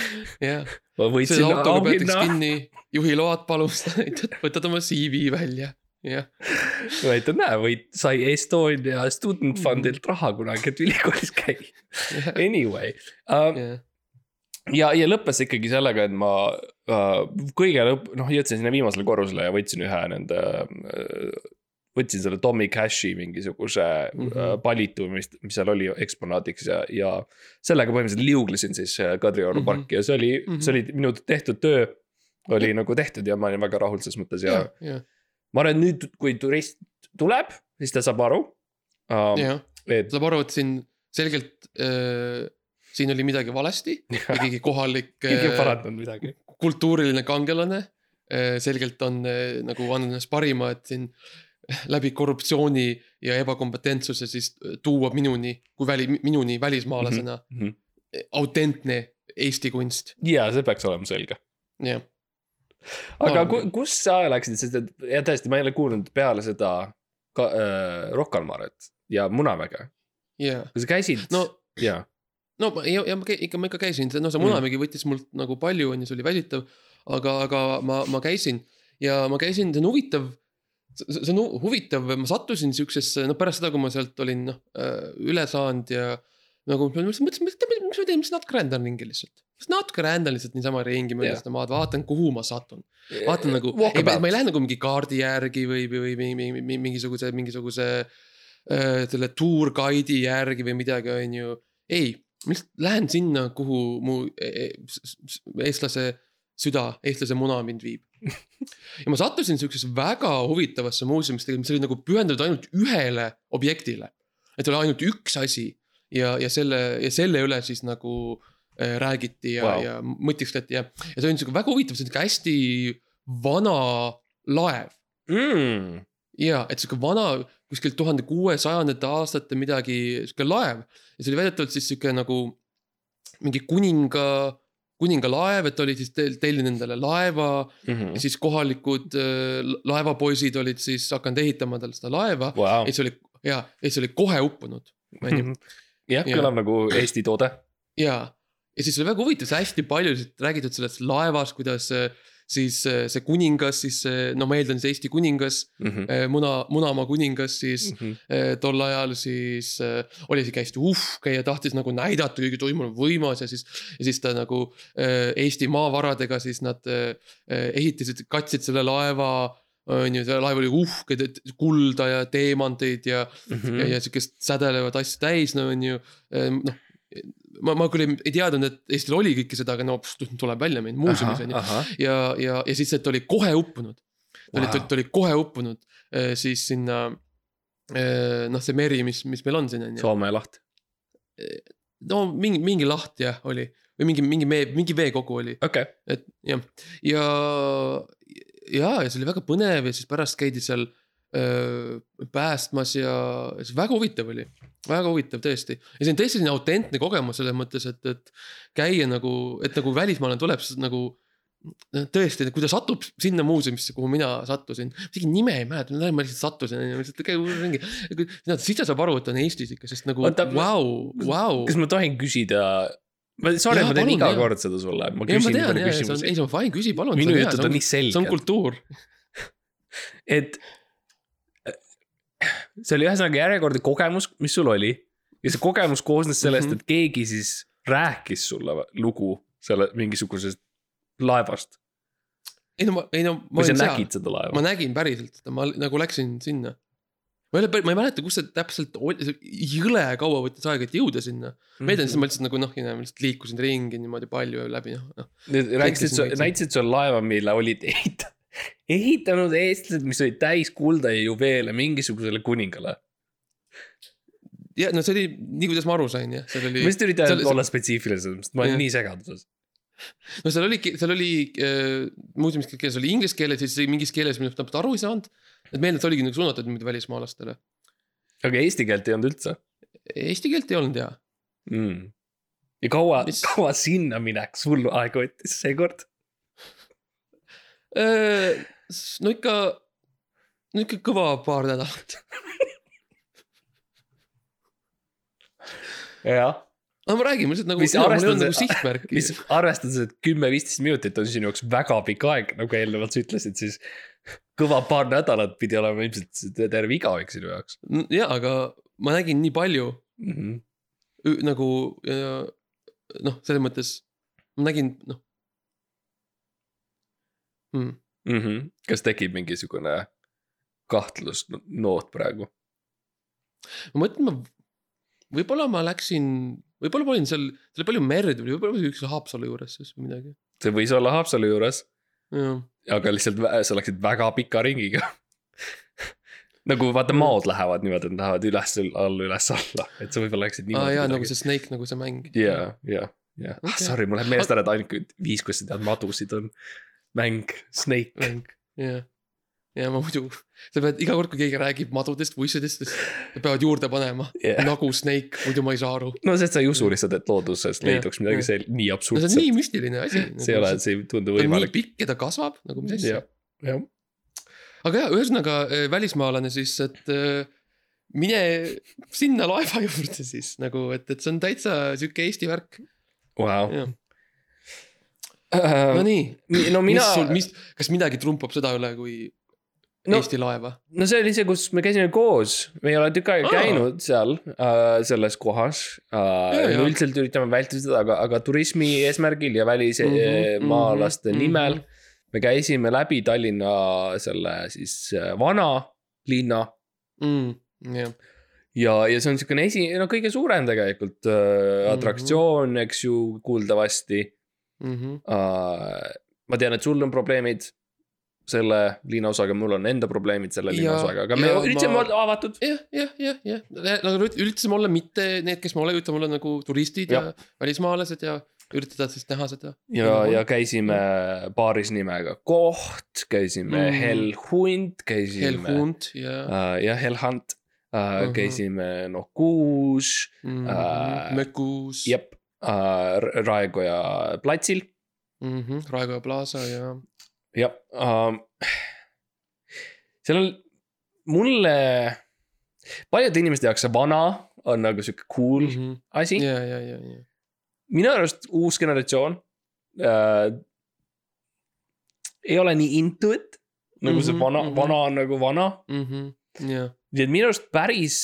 (laughs)
jah .
ma
selle
võitsin
autoga peetakse
auhinna ,
kinni , juhiload palun , sa näitad , (laughs) võtad oma CV välja , jah .
ma ütlen , näe , võit- , sai Estonia Student
Mhm.
Fundilt raha kunagi , et ülikoolis
(laughs)
käia . Anyway uh, , ja , ja lõppes ikkagi sellega , et ma uh, kõige lõpp , noh jõudsin sinna viimasele korrusele ja võtsin ühe nende uh, . võtsin selle Tommy Cashi mingisuguse mm
Mhm.
-hmm. palitu , mis , mis seal oli eksponaadiks ja , ja sellega põhimõtteliselt liuglesin siis äh, Kadrioru mm
Mhm.
-hmm. parki ja see oli mm ,
Mhm.
-hmm. see oli minu tehtud töö oli nagu tehtud ja ma olin väga rahul selles mõttes ja,
jah
ja. , ma arvan , et nüüd , kui turist tuleb , siis ta saab aru um, .
jah ,
et
saab aru , et siin selgelt äh, siin oli midagi valesti , keegi kohalik . äh,
keegi ei parandanud midagi .
kultuuriline kangelane . selgelt on eh, nagu andnud ennast parima , et siin läbi korruptsiooni ja ebakompetentsuse siis eh, tuua minuni , kui väli , minuni välismaalasena mm
mhm.
-hmm. autentne Eesti kunst ,
ja see peaks olema selge .
jah .
aga
Arvan
ku, kus sa läksid , sest et ja tõesti , ma ei ole kuulnud peale seda ka, äh, Rocca al Maret ja Munamäge ,
jaa ,
kui sa käisid
no ,
ja ,
no ma ja , ja ma käi- ikka , ma ikka käisin , no see
Mm.
Munamägi võttis mult nagu palju , on ju , see oli välditav . aga , aga ma , ma käisin ja ma käisin , see on huvitav . see see on hu- huvitav , ma sattusin siuksesse , noh pärast seda , kui ma sealt olin noh äh, üle saanud ja . nagu ma mõtlesin , mõtlesin , mis mis ma teen , mis natuke rändan ringi lihtsalt . kas natuke rändan lihtsalt niisama ringi mööda
Jah.
seda maad , vaatan , kuhu ma satun . vaatan nagu , ei ,
Walkabout.
ma ei lähe nagu mingi kaardi järgi või , või , või mingi, mingi, mingisuguse , mingisuguse äh, selle tour guide'i järgi või midagi , on ju . ei , ma lihtsalt lähen sinna , kuhu mu eh, eh, s- s- eestlase süda , eestlase muna mind viib . ja ma sattusin siuksesse väga huvitavasse muuseumisse , mis oli nagu pühendatud ainult ühele objektile . et oli ainult üks asi ja , ja selle ja selle üle siis nagu eh, räägiti ja
Vau.
wow. , ja mõtiskleti ja , ja see oli siuke väga huvitav , see on siuke hästi vana laev
mm,
ja et sihuke vana , kuskilt tuhande kuuesajandate aastate midagi sihuke laev ja see oli väidetavalt siis sihuke nagu mingi kuninga , kuningalaev , et oli siis tel- tellinud endale laeva
mm -hmm.
ja siis kohalikud äh, laevapoisid olid siis hakanud ehitama talle seda laeva ja
wow.
siis oli ja , ja siis oli kohe uppunud , onju .
Mhm. jah ,
jah.
kõlab nagu Eesti toode .
jaa , ja siis oli väga huvitav , see hästi palju siit räägitud sellest laevast , kuidas äh, siis äh, see kuningas , siis äh, no ma eeldan , see Eesti kuningas ,
Mhm.
muna , Munamaa kuningas siis äh, tol ajal siis äh, oli sihuke hästi uhke ja tahtis nagu näidata , kuigi toimub võimas ja siis . ja siis ta nagu äh, Eesti maavaradega siis nad äh, äh, ehitasid , katsid selle laeva , on ju , see laev oli uhke , kulda ja teemanteid ja
Mhm.
ja , ja sihukest sädelevat asja täis , no on ju , noh . ma , ma küll ei, ei teadnud , et Eestil oli kõike seda , aga no pst, tuleb välja meil muuseumis on ju . ja , ja , ja siis , et ta oli kohe uppunud . ta oli
Vau.
wow. , ta oli kohe uppunud eh, siis sinna , noh , see meri , mis , mis meil on siin on ju .
Soome laht .
no mingi , mingi laht jah oli või mingi , mingi mee , mingi veekogu oli ,
okei ,
et jah , ja , ja , ja see oli väga põnev ja siis pärast käidi seal öö, päästmas ja see väga huvitav oli, väga huvitav tõesti. ja see on tõesti selline autentne kogemus selles mõttes, et, et käia nagu, et nagu välismaalane tuleb siis nagu noh, tõesti , kui ta satub sinna muuseumisse , kuhu mina sattusin , isegi nime ei mäleta , ma lihtsalt sattusin , onju , lihtsalt käin ringi . siis ta saab aru , et ta on Eestis ikka , sest nagu
Oota, ma-
vau , vau .
kas ma tohin küsida ? ma , sorry ,
Jaa,
ma teen
palun,
iga
jaa.
kord seda sulle , ma
ei , ma
küsin
tean
endale
ja , ei , see on ,
küsimusi
ei , see on fine , küsi palun .
minu jutud on nii
see on
selged ,
kultuur .
et äh, see oli ühesõnaga järjekordne kogemus , mis sul oli ja see kogemus koosnes sellest mm ,
Mhm.
-hmm. et keegi siis rääkis sulle lugu selle mingisugusest laevast
ei no ma , ei no ma
või sa
olin seal
nägid , seda
ma
laeva ?
nägin päriselt seda , ma nagu läksin sinna . ma ei ole , ma ei mäleta , kus see täpselt oli , see jõle kaua võttis aega , et jõuda sinna . ma ei tea , siis ma lihtsalt nagu noh , lihtsalt liikusin ringi niimoodi palju ja läbi noh , noh .
rääkisid
Näitasin- ,
näitasid sulle laeva , mille olid ehitanud , (laughs) ehitanud eestlased , mis olid täis kulda ja juveele mingisugusele kuningale .
ja no see oli nii , kuidas ma aru sain jah , seal oli
ma , lihtsalt
See oli-
üritan olla spetsiifilisem , sest ma
Jah.
olen nii segaduses .
no seal oli , seal oli äh, muuseumis kõik keeles oli inglise keeles ja siis oli mingis keeles , millest ma täpselt aru ei saanud . et meil need oligi nagu suunatud niimoodi välismaalastele .
aga eesti keelt ei olnud üldse
Eesti keelt ei olnud ja
mm. . ja kaua
Mis- ,
kaua sinna minek sul aega võttis seekord ?
Öö, Äh, s- no ikka , no ikka kõva paar nädalat .
jah .
aga ma räägin , ma lihtsalt nagu .
Mis arvestades-
nagu sihtmärki
mis . arvestades , et kümme-viisteist minutit on sinu jaoks väga pikk aeg , nagu eelnevalt sa ütlesid , siis kõva paar nädalat pidi olema ilmselt terve igaüks sinu jaoks
ja , aga ma nägin nii palju
mm . -hmm.
ü- nagu öö, noh , selles mõttes ma nägin noh hmm. .
mm . -hmm. kas tekib mingisugune kahtlusnoot praegu ?
ma mõtlen , ma võib-olla ma läksin , võib-olla ma olin seal , seal oli palju merd , võib-olla ma olin üks Haapsalu juures siis või midagi .
see võis olla Haapsalu juures ,
jah ,
aga lihtsalt vä- sa läksid väga pika ringiga . (laughs) nagu vaata , maod lähevad niimoodi , et nad lähevad üles , alla , üles , alla , et sa võib-olla läksid
aa
niimoodi
jaa , nagu . see Snake , nagu see mäng .
ja , ja , ja ,
Okei.
Ah, sorry , mul läheb meelest ära , et ainult viis , kus sa tead madusid , on mäng , snake .
mäng , jah . ja ma muidu , sa pead iga kord , kui keegi räägib madudest , vuissidest , siis peavad juurde panema
Yeah.
nagu Snake , muidu ma ei saa aru .
no sest sa ei usu lihtsalt , et looduses
Jah,
leiduks midagi
jah.
sel- , nii
no see on
absurdset .
nii müstiline asi .
see ei ole , see ei tundu
ta on nii
võimalik .
pikk ja ta kasvab nagu mis asja
jah ., jah .
aga jaa , ühesõnaga eh, välismaalane siis , et eh, mine sinna laeva (laughs) juurde siis nagu , et , et see on täitsa sihuke Eesti värk .
Vau . Äh,
Jah. Nonii ,
no mina
mis , sul , mis , kas midagi trumpab seda üle , kui no.
No-
Eesti laeva ?
no see oli see , kus me käisime koos , me ei ole tükk aega
Aa.
käinud seal äh, selles kohas
Jaa,
äh, .
jaa.
üldiselt üritame vältida seda , aga , aga turismi eesmärgil ja
Mhm,
välismaalaste mm
mhm,
-hmm, nimel mm .
mhm.
-hmm. me käisime läbi Tallinna selle siis äh, vana linna
Mm, jah ,
ja , ja see on siukene esi , no kõige suurem tegelikult äh,
Mhm.
atraktsioon mm , -hmm. eks ju , kuuldavasti
Mhm.
äh, . ma tean , et sul on probleemid selle linnaosaga , mul on enda probleemid selle
Ja-
linnaosaga , aga me
ja
üritasime
ma-
olla avatud .
jah , jah , jah , jah , nagu üt- üritasime olla mitte need , kes me oleme , üritame olla nagu turistid ja,
Jah.
ja välismaalased ja üritada siis näha seda .
ja , ja käisime baaris nimega Koht , käisime
Mhm.
mm. Hell Hunt , käisime .
Helhund ja
Äh, jah , Hell Hunt äh,
Mhm.
uh , käisime Nokuus ,
mm,
äh,
Mökus
jep äh, , Raekoja platsil ,
mm -hmm, , Raekoja plaasa ja
jah äh, . seal on mulle , paljude inimeste jaoks see vana on nagu sihuke cool mm -hmm.
-hmm.
asi yeah. ,
ja , ja , ja , ja .
minu arust uus generatsioon äh, ei ole nii into it nagu mm -hmm, see
Mhm,
vana mm ,
mhm.
-hmm. vana on nagu vana
Mm -hmm. ja ,
nii et minu arust päris ,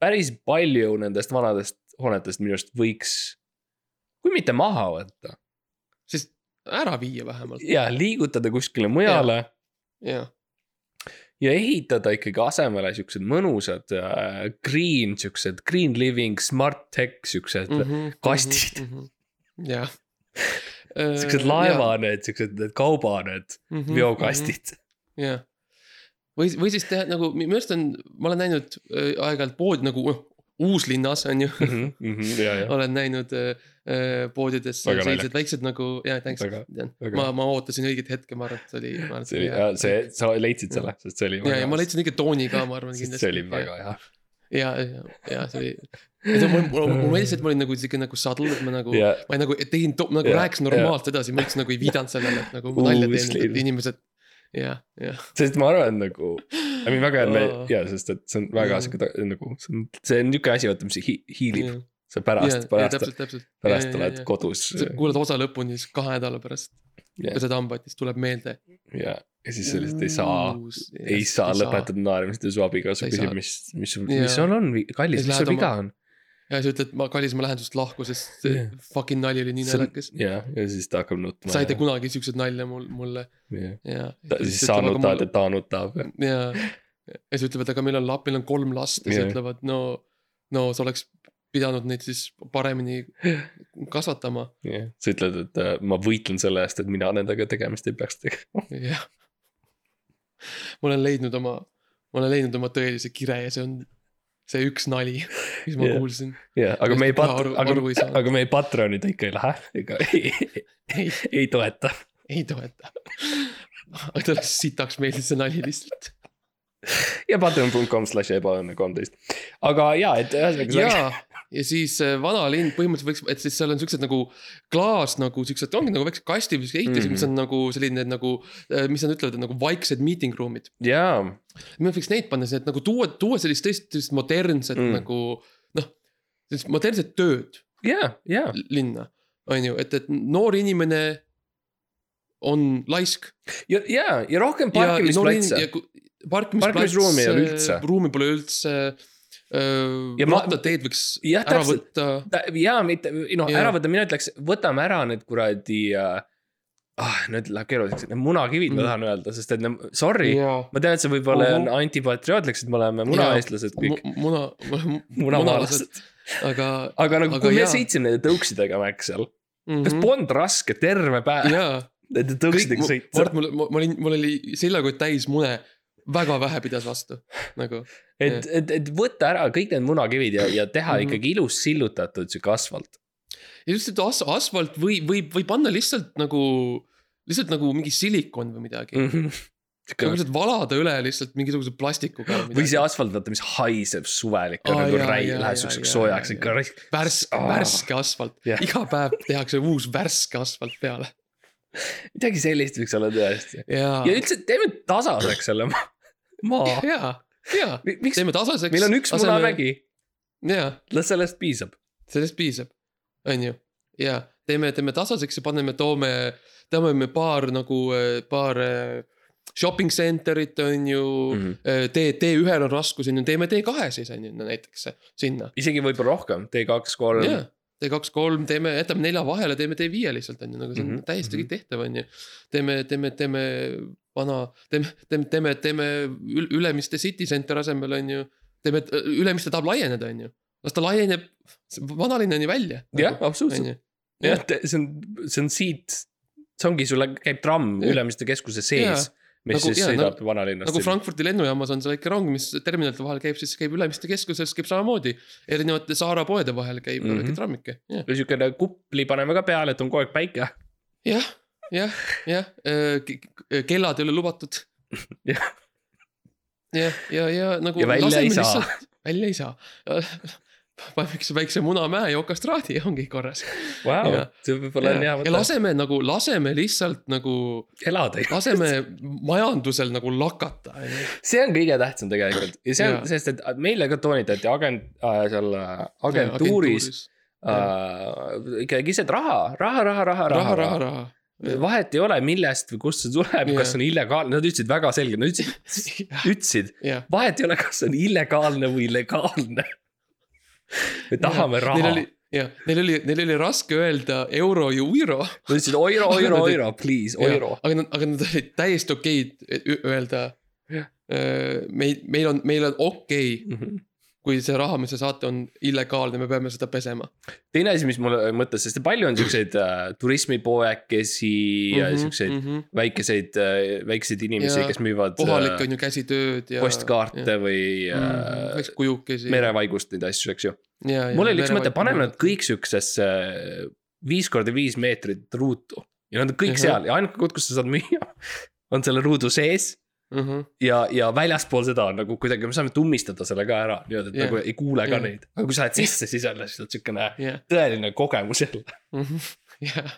päris palju nendest vanadest hoonetest minu arust võiks , kui mitte maha võtta
siis ära viia vähemalt
ja liigutada kuskile mujale ja,
ja ,
ja ehitada ikkagi asemele siuksed mõnusad äh, green , siuksed green living , smart tech , siuksed
Mhm.
mm , -hmm. kastid.
-hmm. ja .
(laughs) siuksed laeva . need , siuksed need kauba need
Mhm,
veokastid .
jah , või , või siis teha nagu , minu arust on , ma olen näinud äh, aeg-ajalt pood nagu uh, uuslinnas on ju ,
(laughs) Mhm, ja , ja .
olen näinud äh, äh, poodides
Väga
sellised väiksed nagu , jaa , thanks ,
väga ,
tean .
väga-
ma , ma ootasin õiget hetke , ma arvan , et see oli , ma arvan , et
see oli , see , sa leidsid selle , sest see oli .
ja , ja ma leidsin õige tooni ka , ma arvan kindlasti .
see oli väga hea .
ja , ja , ja see oli , et mul , mul , mul meeldis , et ma olin nagu siuke nagu sadl , et ma nagu ,
ja ,
ma ei nagu tegin , nagu
Ja,
yeah, rääkisin normaalselt yeah. edasi , ma üldse nagu ei viidanud sellele , et nagu ma nalja teen , et
Uuslinnas.
inimesed . jah , jah ,
sest ma arvan nagu , I mean väga hea on
Aa.
ja , sest et see on väga
Mm.
siuke ta- nagu , see on , see on niuke asi , vaata , mis hi- hiilib , sa pärast , pärast ,
täpselt , täpselt .
pärast oled . kodus
sa kuulad osa lõpuni , siis kahe nädala pärast
Jah.
yeah. pesed hambaid , siis tuleb meelde .
ja , ja siis sa lihtsalt ei saa , ei saa lõpetada naeramist ja su abikaasa
Ei
küsib
saa. ,
mis , mis ,
Jaa.
mis sul on , kallis ,
Siis
mis
lähed
sul
oma-
viga on ?
ja siis ütled , ma , kallis , ma lähen sinust lahku , sest see
Jah.
fucking nali oli nii
See on-
naljakas .
ja , ja siis ta hakkab nutma .
sa ei tee kunagi siukseid nalja mul , mulle ja .
siis sa
nagu
nutad ja ta nutab .
ja , ja siis ütlevad , aga meil on lap- , meil on kolm last ja
Jah.
siis ütlevad , no , no sa oleks pidanud neid siis paremini kasvatama .
sa ütled , et äh, ma võitlen selle eest , et mina nendega tegemist ei peaks tegema .
jah . ma olen leidnud oma , ma olen leidnud oma tõelise kire ja see on see üks nali , mis ma
Jah.
kuulsin .
jah , aga
Millest ma
meie
kohe
pat-
aru- ,
aga
aru ei , saanud.
aga meie Patreonid ikka ei lähe ega ei, ei , ei toeta .
ei toeta . aga talle sitaks meeldis see nali lihtsalt .
ja patreon.com slash ebaõnne kolmteist . aga ja , et ühesõnaga .
jaa , (laughs) ja siis äh, vanalinn põhimõtteliselt võiks , et siis seal on siuksed nagu klaas nagu siuksed , ongi nagu väiksed kastid või siuksed
Mhm.
ehitised mm , -hmm. mis on nagu selline nagu , mis nad ütlevad , nagu vaiksed meeting room'id .
jaa ,
me võiks neid panna , et nagu tuua , tuua sellist tõesti sellist modernset
Mm.
mm. nagu noh , sellist modernset tööd
jaa , jaa .
linna , on ju , et , et noor inimene on laisk .
ja , ja , ja rohkem parkimisplatse . Parkimisruumi ei ole üldse.
äh, ruumi pole üldse .
Ja
ja
ma-
rattateed võiks
Jah,
ära
täpselt.
võtta
jaa , mitte , noh ,
Jaa.
ära võtta , mina ütleks , võtame ära need kuradi äh, . ah , nüüd läheb keeruliseks , need munakivid mm. , ma
Mm.
tahan öelda , sest et ne- , sorry yeah.
jaa ,
ma tean , et see võib-olla on
Mhm.
antipatriootlik , sest me oleme munaeestlased kõik ,
Mu- muna , munamaalased ,
munamaalased .
aga
aga nagu ,
Aga
kui me
jaa.
sõitsime nende tõuksidega , Mac seal ,
mm .
kas polnud raske terve päev
jaa ,
nende
kõik ,
tõuksidega sõita
Mart , mul , ma ma olin , mul oli seljakott täis mune , väga vähe pidas vastu , nagu
et , et , et võtta ära kõik need munakivid ja , ja teha
Mhm.
ikkagi ilus sillutatud sihuke asfalt .
ja just , et as- , asfalt või , või , või panna lihtsalt nagu , lihtsalt nagu mingi silikon või midagi mm . nagu
või
lihtsalt valada üle lihtsalt mingisuguse plastikuga või
see
midagi .
asfalt , vaata , mis haiseb suvel ikka
Aa,
nagu
jaa,
räi- ,
jaa,
läheb
jaa,
siukseks
jaa,
soojaks
jaa,
ikka .
värske ,
Aa.
värske asfalt
Jah.
yeah. , iga päev tehakse uus värske asfalt peale
midagi sellist võiks olla tõesti .
ja ,
ja üldse teeme tasaseks selle
(laughs)
maa- maa .
ja , ja
miks ,
teeme tasaseks .
meil on üks munamägi ,
jaa
las sellest piisab .
sellest piisab , on ju . ja teeme , teeme tasaseks ja paneme , toome , tõmbame paar nagu äh, paar äh, shopping center'it on ju mm .
Mhm.
-hmm. tee , tee ühel on raskus on ju , teeme tee kahe siis on ju no näiteks eh, sinna .
isegi võib-olla rohkem , T2 , kolm
jaa , tee kaks , kolm , teeme , jätame nelja vahele , teeme tee viie lihtsalt on ju , nagu see on mm
Mhm,
-hmm. täiesti
mhm.
kõik tehtav on ju . teeme , teeme , teeme vana , teeme , teeme , teeme , teeme Ül- Ülemiste City Center asemel on ju . teeme , Ülemiste tahab laieneda , on ju . las ta laieneb vanalinnani välja . nagu
jah , absoluutselt
on . ju .
jah , see on , see on siit , see ongi , sul käib tramm
Jah.
Ülemiste keskuse sees ,
Nagu-
mis nagu, siis
jaa,
sõidab nagu, vanalinnast
nagu . Frankfurdi lennujaamas on see väike rong , mis terminalite vahel käib , siis käib Ülemiste keskuses , käib samamoodi . erinevate Saara poede vahel käib mm
Mhm.
-hmm. väike trammike , jah .
ja siukene kupli paneme ka peale , et on kogu aeg päike .
jah , jah , jah , Äh, kellad ei ole lubatud .
(laughs) Jah.
jah , ja, ja , ja nagu .
Ja välja ei saa. .
välja ei saa . (laughs) paneme üks väikse munamäe ja okastraadi ja ongi korras .
Vau ,
Jah.
see võib-olla on hea
ja ja
mõte ,
laseme nagu , laseme lihtsalt nagu ,
elada .
laseme majandusel nagu lakata , on ju .
see on kõige tähtsam tegelikult ja see on
Jaa. ,
sest et meile ka toonitati agent äh, , seal äh, agentuuris äh, ikkagi see , et raha , raha , raha , raha ,
raha , raha ,. raha .
vahet ei ole , millest või kust see tuleb ,
Jaa.
kas see on illegaalne , nad ütlesid väga selgelt , nad ütlesid ,
(laughs)
ütlesid ,
jah .
vahet ei ole , kas see on illegaalne või legaalne . me tahame ja, raha
Neil , oli , jah , neil oli , neil oli raske öelda euro ja euro .
nad ütlesid oiro , oiro , oiro , please , oiro .
aga nad , aga nad olid täiesti äh,
Mhm.
okeid ü- öelda . meil , meil on , meil on okei okay kui see raha , mis te saate , on illegaalne , me peame seda pesema .
teine asi , mis mulle mõttes , sest palju on siukseid äh, turismipoekesi ja siukseid
-hmm.
väikeseid , väikseid inimesi
Ja ,
kes müüvad
kohalik
äh,
on ju käsitööd ja .
postkaarte või
mm, .
äh,
väikseid kujukesi .
merevaigust , neid asju , eks ju . mul oli üks mõte , paneme nad . kõik siuksesse äh, viis korda viis meetrit ruutu ja nad on kõik
Ahah.
seal ja ainuke koht , kus sa saad müüa (laughs) on selle ruudu sees
Mhm,
ja , ja väljaspool seda on nagu kuidagi , me saame tummistada selle ka ära niimoodi , et
Jah.
nagu ei kuule ka
Jah.
neid . aga kui sa lähed sisse , siis alles on siukene
jah ,
tõeline kogemus jälle .
(laughs) jah .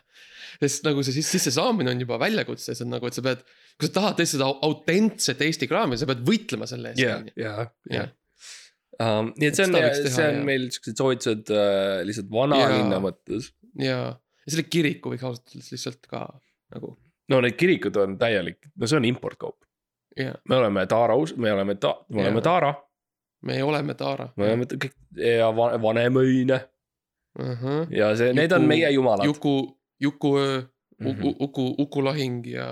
sest nagu see sisse saamine on juba väljakutse , see on nagu , et sa pead , kui sa tahad tõesti seda au- autentset Eesti kraami , sa pead võitlema selle eest .
ja , ja , ja
Jah. .
Um, nii et see
Et
on
seda võiks , teha,
see on
jah.
meil siuksed soovitused äh, lihtsalt vanalinna
Jaa.
mõttes .
ja , ja selle kiriku võiks ausalt öeldes lihtsalt ka nagu
no need kirikud on täielik , no see on importkaup .
Jaa.
me oleme Taara , me oleme ta- , me oleme
Jaa.
Taara ,
me oleme Taara .
me oleme t- kõik ja Va- Vanemuine
oleme .
ja see , need on
Juku-
meie jumalad .
Juku , Jukuöö ,
Mhm.
Uku , Uku Lahing ja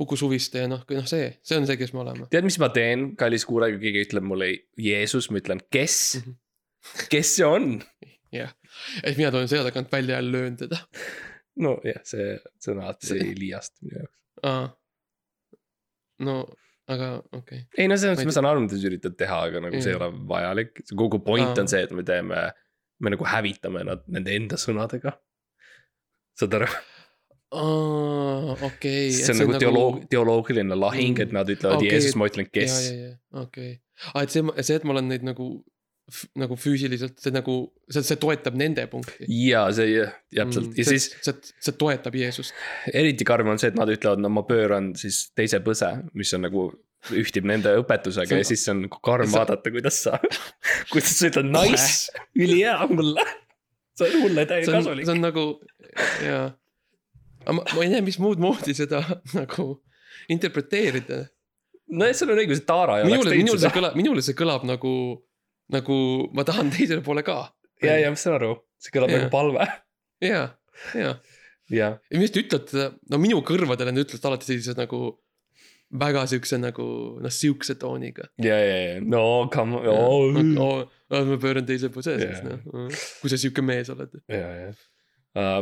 Uku Suviste ja noh , noh see , see on see , kes me oleme .
tead , mis ma teen , kallis kuulaja , kui keegi ütleb mulle Jeesus , ma ütlen , kes ,
Mhm.
kes see on ?
et mina tulen selja tagant välja ja löön teda .
nojah , see , see on alati
See-
liiast minu jaoks .
no aga okei
ei no selles
Ma ei
mõttes
tea.
ma saan aru , mida sa üritad teha , aga nagu see ei
Jaa.
ole vajalik , kogu point
Aa.
on see , et me teeme , me nagu hävitame nad nende enda sõnadega . saad aru ?
okay. . okei .
see on nagu teoloog- , teoloogiline lahing , et nad ütlevad
Okei,
okay, Jeesus ,
et-
ma ütlen kes .
ja , ja , ja okei okay. . et see , see , et ma olen neid nagu , nagu füüsiliselt , see nagu , see , see toetab nende punkti .
ja see jah, täpselt ja siis .
Mm, see , see toetab Jeesust .
eriti karm on see , et nad ütlevad , no ma pööran siis teise põse , mis on nagu ühtib nende
See
õpetusega
on-
ja siis on karm
see-
vaadata , kuidas sa , (laughs) kuidas sa ütled
Noh,
nice , ülihea mulle . sa oled
see
mulle
on ,
täiekasulik
see . on nagu jaa . aga ma, ma ei näe , mis muud moodi seda (laughs) nagu interpreteerida .
nojah , sul on õigus , et Taara ei oleks
minule ,
teinud
minule see
seda .
kõlab , minule see kõlab nagu , nagu ma tahan teisele poole ka .
ja , ja ma saan aru , see kõlab
Jaa.
nagu palve . (laughs)
jaa , jaa .
jah ,
ja mis te ütlete , no minu kõrvadele te ütlete alati sellised nagu väga siukse nagu noh , siukse tooniga .
ja , ja , ja no come on .
Oh, ma pööran teise puse siis
Jaa.
noh , kui sa siuke mees oled .
ja , ja .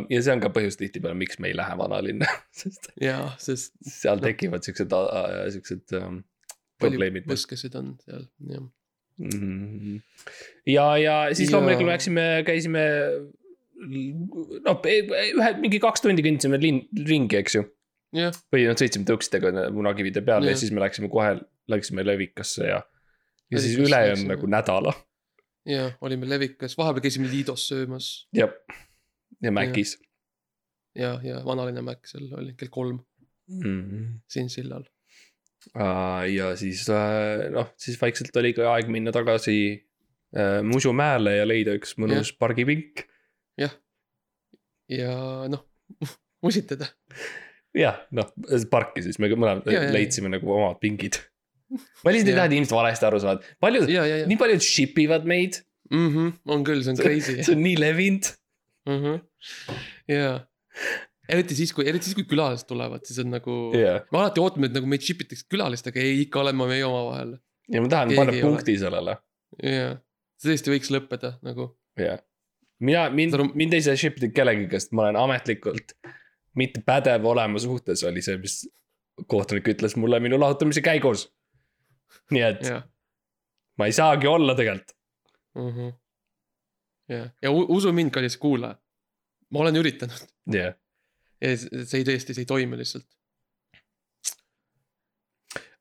ja see on ka põhjus tihtipeale , miks me ei lähe vanalinna , (laughs) sest
jaa , sest
seal
No.
tekivad siuksed , siuksed ähm,
palju
probleemid .
põskesid on seal , jah .
Mhm. ja , ja siis
Ja.
loomulikult me läksime , käisime . noh , ühe mingi kaks tundi kõndisime linn , ringi , eks ju .
jah ,
või noh , sõitsime tõuksidega ne- munakivide peal ja. ja
Jah.
siis me läksime kohe , läksime Levikasse ja . ja siis
Levikasse
ülejäänud
läksime.
nagu nädala ,
jaa , olime levikas , vahepeal käisime Liidos söömas
jah . ja Mäkis .
ja , ja vanaline Mac seal oli kell kolm
Mm -hmm.
siin sillal .
ja siis äh, noh , siis vaikselt oli ka aeg minna tagasi äh, Musumäele ja leida üks mõnus pargipink .
ja noh , (laughs) musitada .
jah , noh , parki siis me mõlemad
Ja, ja, ja.
leidsime nagu omad pingid . ma lihtsalt ei
Ja.
taha , et inimesed valesti aru saavad , paljud ,
ja , ja , ja
nii paljud ship ivad meid ,
mm , -hmm. on küll , see on
see
crazy .
on nii levinud .
jaa , eriti siis , kui , eriti siis , kui külalised tulevad , siis on nagu yeah. ,
ja ,
me alati ootame , et nagu meid ship itakse külalistega , ei ikka oleme meie omavahel .
ja ma tahan
Keegi
panna
ei ole.
punkti sellele ,
jaa , see tõesti võiks lõppeda nagu
ja . mina , mind
Saad , aru-
mind ei saa ship ida kellegagi , sest ma olen ametlikult mitte pädev olema suhtes , oli see , mis kohtunik ütles mulle minu lahutamise käigus . nii et
jaa
ma ei saagi olla tegelikult .
mm -hmm. . jaa , ja u- usu mind , kallis kuulaja , ma olen üritanud
jah .
ja see see ei tõesti , see ei toimi lihtsalt .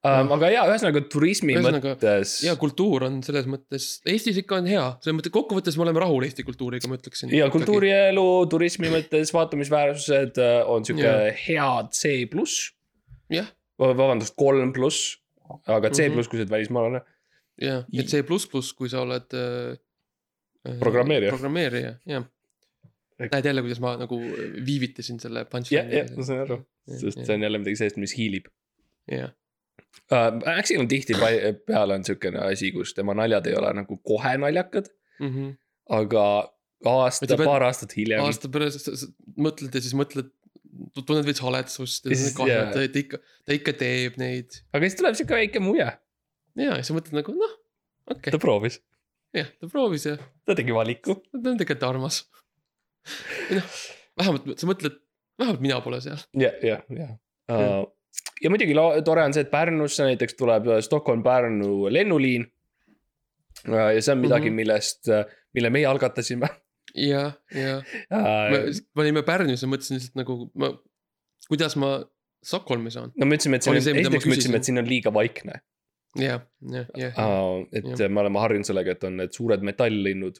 Um, aga jaa , ühesõnaga turismi
Ühesõnaga,
mõttes .
ja kultuur on selles mõttes , Eestis ikka on hea , selles mõttes kokkuvõttes me oleme rahul Eesti kultuuriga , ma ütleksin .
ja . kultuurielu , turismi mõttes vaatamisväärsused äh, on sihuke
Jaa.
hea C pluss ,
jah ,
vabandust , kolm pluss , aga C
Mhm.
pluss , kui sa oled välismaalane .
ja , et C pluss pluss , kui sa oled äh, .
Programmeerija.
programmeerija , jah . näed jälle , kuidas ma nagu viivitasin selle
jah ,
punchline'i
jah , ma saan aru ,
Jah,
sest
jah.
see on jälle midagi sellist , mis hiilib
jah ,
uh, . Axel on tihtipeale on siukene asi , kus tema naljad ei ole nagu kohe naljakad , aga
Et sa
aasta ,
pead-
paar aastat hiljem .
Mhm. aasta pärast sa- sa mõtled ja siis mõtled , tunned veits haletsust ja
Ja
siis
siis-
kahju ,
jaa.
et ta- ta ikka , ta ikka teeb neid .
aga siis tuleb siuke väike muje .
ja , ja siis mõtled nagu noh , okei
ta
okay. ,
proovis ,
jah , ta proovis ja
ta tegi valiku .
ta on tegelikult armas . noh , vähemalt sa mõtled , vähemalt mina pole seal .
ja , ja , ja . ja muidugi la- tore on see , et Pärnusse näiteks tuleb äh, Stockholm-Pärnu lennuliin . ja see on midagi ,
Mhm.
millest , mille meie algatasime . Äh,
ja , ja me
no
me olime Pärnus ja mõtlesin lihtsalt nagu ma , kuidas ma Stockholmi saan .
me ütlesime , et siin
Oli
on ,
see, mida ma
esiteks me ütlesime ,
küsisin.
et siin on liiga vaikne .
ja , ja , ja .
et
Jah.
me oleme harjunud sellega , et on need suured metalllinnud .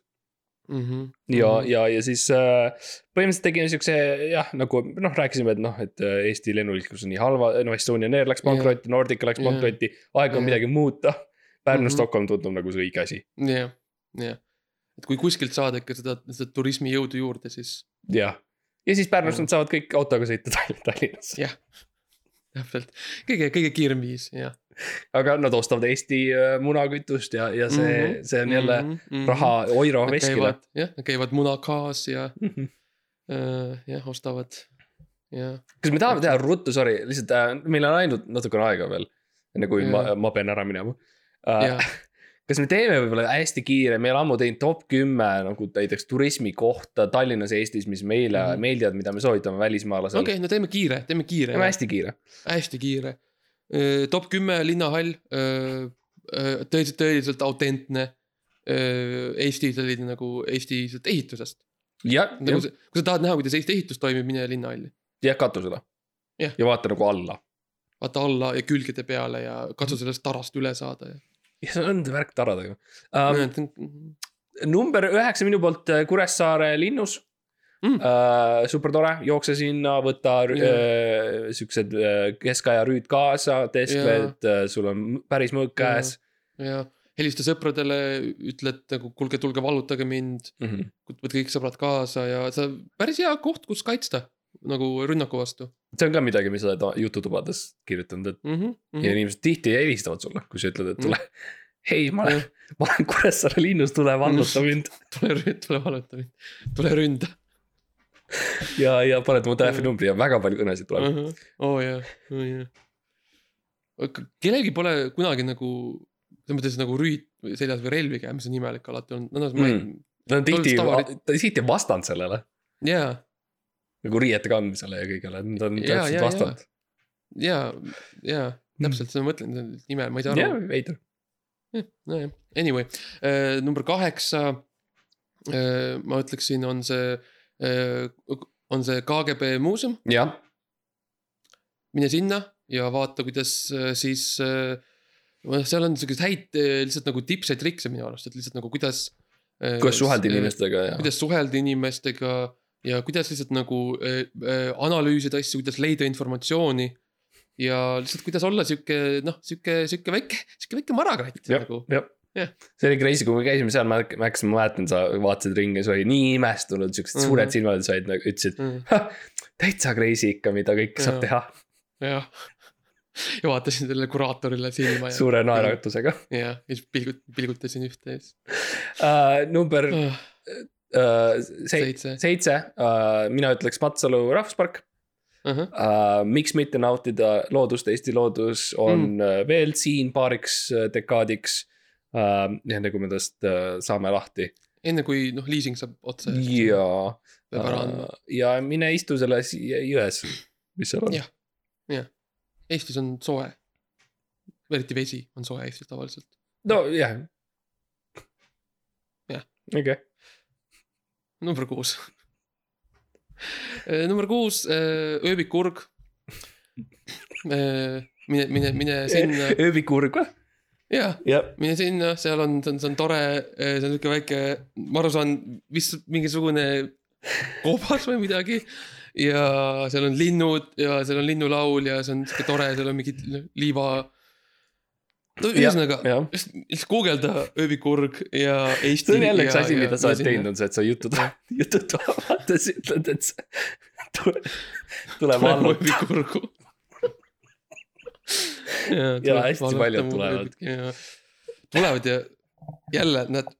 ja ,
Mhm.
ja , ja siis äh, põhimõtteliselt tegime siukse jah , nagu noh , rääkisime , et noh , et äh, Eesti lennuliiklus on nii halva , noh Estonian Air läks
Jah.
pankrotti , Nordica läks
Jah.
pankrotti , aeg on
Jah.
midagi muuta .
Mhm.
Pärnu-Stockholm tundub nagu see õige asi ,
jah , jah . et kui kuskilt saada ikka seda , seda turismijõudu juurde , siis
jah . ja siis Pärnust
Jah.
nad saavad kõik autoga sõita Tall- Tallinnasse ,
täpselt kõige , kõige kiirem viis , jah .
aga nad ostavad Eesti äh, munakütust ja , ja see mm ,
Mhm.
-hmm. see on jälle mm -hmm. raha Oiro
Nad
veskile .
käivad , jah , nad käivad munakaas ja
Mhm.
äh, , jah , ostavad , jah .
kas me tahame teha ruttu , sorry , lihtsalt äh, meil on ainult natukene aega veel , enne kui ma
Jah. ,
ma pean ära minema
Jah.
äh, . kas me teeme võib-olla hästi kiire , me oleme ammu teinud top kümme nagu näiteks turismikohta Tallinnas ja Eestis , mis meile mm
Mhm.
-hmm. meeldivad , mida me soovitame välismaalasele
okei okay, , no teeme kiire , teeme kiire
teeme . hästi kiire .
hästi kiire . top kümme linnahall , tõeliselt , tõeliselt autentne . Eesti selline nagu Eesti lihtsalt ehitusest .
jah ,
nagu sa , kui sa tahad näha , kuidas Eesti ehitus toimib , mine linnahalli .
jah katusele
Jah.
ja vaata nagu alla .
vaata alla ja külgede peale ja
Mhm.
katsu sellest tarast üle saada ja
ja see on värk taradega
um,
um, .. number üheksa minu poolt äh, Kuressaare linnus
Mm.
mm. uh, . super tore , jookse sinna , võta
Jaa.
yeah. uh, siuksed uh, keskaja rüüd kaasa , teskled yeah. , uh, sul on m- päris mõõk
Jaa.
käes
ja helista sõpradele , ütled nagu kuulge , tulge valutage mind ,
yeah. . Mm -hmm.
võtke kõik sõbrad kaasa ja see on päris hea koht , kus kaitsta nagu rünnaku vastu
see on ka midagi , mis sa oled o- jututubades kirjutanud , et
mm . -hmm, mm
ja
-hmm.
inimesed tihti helistavad sulle , kui sa ütled , et
Mm. Mm.
tule . hei , ma olen , ma olen Kuressaare linnus , tule valluta mind
(laughs) tule ründ- , tule valuta mind , tule ründa .
ja , ja paned mu telefoninumbri ja väga palju kõnesid tuleb .
Ahah, Oh, oo jaa , oo jaa . kellelgi pole kunagi nagu , selles mõttes nagu rüüt seljas või relvi käe , mis on imelik alati olnud , no ma
Mm.
ei ,
Nad on tihti
Tundus tavaline- ,
ta on tihti vastand sellele
jaa ,
nagu riiete kandmisele ja kõigele , nad on
Jaa,
täpselt
jaa,
vastand .
jaa , jaa , täpselt seda ma mõtlen , see on ime , ma ei saa
jah
aru ,,
veider .
nojah , anyway , number kaheksa . ma ütleksin , on see , on see KGB muuseum ,
jah ,
mine sinna ja vaata , kuidas äh, siis . seal on siukseid häid äh, lihtsalt nagu tips ja trikse minu arust , et lihtsalt nagu kuidas . äh,
kuidas suhelda . inimestega ja .
kuidas suhelda inimestega ja kuidas lihtsalt nagu äh, äh, analüüsida asju , kuidas leida informatsiooni . ja lihtsalt , kuidas olla sihuke noh , sihuke , sihuke väike , sihuke väike marakratt
Jah.
nagu .
jah
Jah. ,
see oli crazy , kui me käisime seal , ma hakkasin , ma mäletan , sa vaatasid ringi , sa olid nii imestunud , siuksed
Mhm.
suured silmad said , nagu, ütlesid ,
Mm,
täitsa crazy ikka , mida kõike saab
Jaa.
teha
jah . ja vaatasin sellele kuraatorile silma ja ,
suure naeratusega
ja siis pilgut- , pilgutasin ühte ja siis
uh, . number uh,
ah, .
seitse ,
seitse .
seitse uh, , mina ütleks Matsalu rahvuspark
ahah ,
uh, . miks mitte nautida loodust , Eesti loodus on
Mhm.
mm. uh, veel siin paariks uh, dekaadiks uh, . enne kui me tast uh, saame lahti
enne kui noh , liising saab otsa .
ja
peab ära
uh,
andma .,
ja mine istu selles jõ- jões , mis seal on
Jah. . Eestis on soe . eriti vesi on soe Eestis tavaliselt .
nojah .
Jah.
okei ,
number kuus . number kuus , äh, ööbikurg . Äh, mine , mine ,
(laughs)
mine sinna ,
ööbikurg või ?
jaa ,
jah ,
mine sinna , seal on , see on , see on tore , see on sihuke väike , ma aru saan , vist mingisugune koobas või midagi . ja seal on linnud ja seal on linnulaul ja see on sihuke tore , seal on mingid liiva . no ühesõnaga ,
jah .
just , just guugelda ööbikurg ja Eesti .
see on jälle üks asi , mida sa oled teinud , on see , et sa jutud , (laughs) jutud vaadates ütled , et sa tule , tule
tuleb
valluta .
(laughs) ööbikurgu .
Ja hästi paljud tulevad. .
tulevad ja jälle nad ,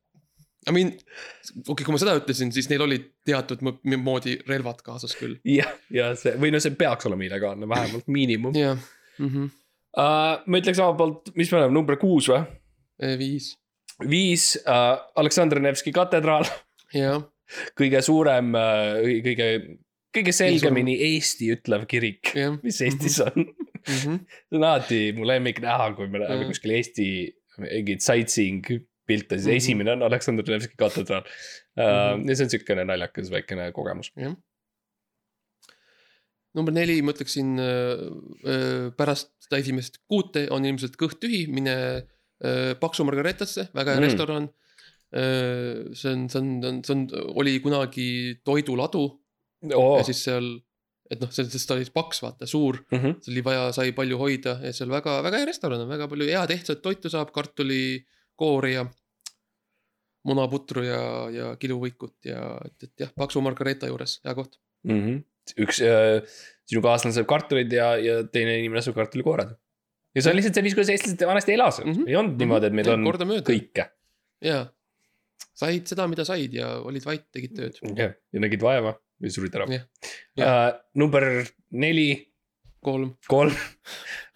I mean , okei okay, , kui ma seda ütlesin , siis neil olid teatud mo- moodi relvad kaasas küll .
jah , ja see või no see peaks olema illegaalne , vähemalt (laughs) miinimum uh, .
jah mm -hmm. ,
Äh, ma ütleks omalt poolt , mis me oleme , number kuus või ?
E viis
viis äh, Aleksandr Nevski katedraal ,
jah ,
kõige suurem äh, , kõige , kõige selgemini Eesti ütlev kirik , (laughs)
jah .
mis
Mhm.
Eestis on . see on alati mu lemmik näha , kui me läheme
Mhm.
kuskil Eesti mingeid sightseeing pilte , siis
Mhm.
esimene on Aleksandr Nevski katedraal äh, . ja see on siukene naljakas väikene kogemus .
number neli , ma ütleksin äh, äh, pärast seda esimest kuute on ilmselt kõht tühi , mine äh, Paksu Margareetasse , väga hea
Mm.
mm. restoran . see on , see on , see on , oli kunagi toiduladu oh. ja
Oh.
siis seal , et noh , see , sest ta oli paks , vaata , suur ,
Mm -hmm.
seal oli vaja , sai palju hoida ja seal väga , väga hea restoran on , väga palju hea tehtud toitu saab , kartulikoori ja munaputru ja , ja kiluvõikut ja et , et jah , Paksu Margareeta juures , hea koht .
mm . -hmm. üks äh, sinu kaaslane sööb kartuleid ja , ja teine inimene sööb kartulikoorad . ja see on lihtsalt see , mis , kuidas eestlased vanasti elasid mm ,
Mhm.
-hmm. ei olnud niimoodi , et meil on
kordamööda .
kõike
jaa , said seda , mida said ja olid vait , tegid tööd .
ja, ja nägid vaeva ja surid ära
Jah.
Äh, number neli ,
kolm
kolm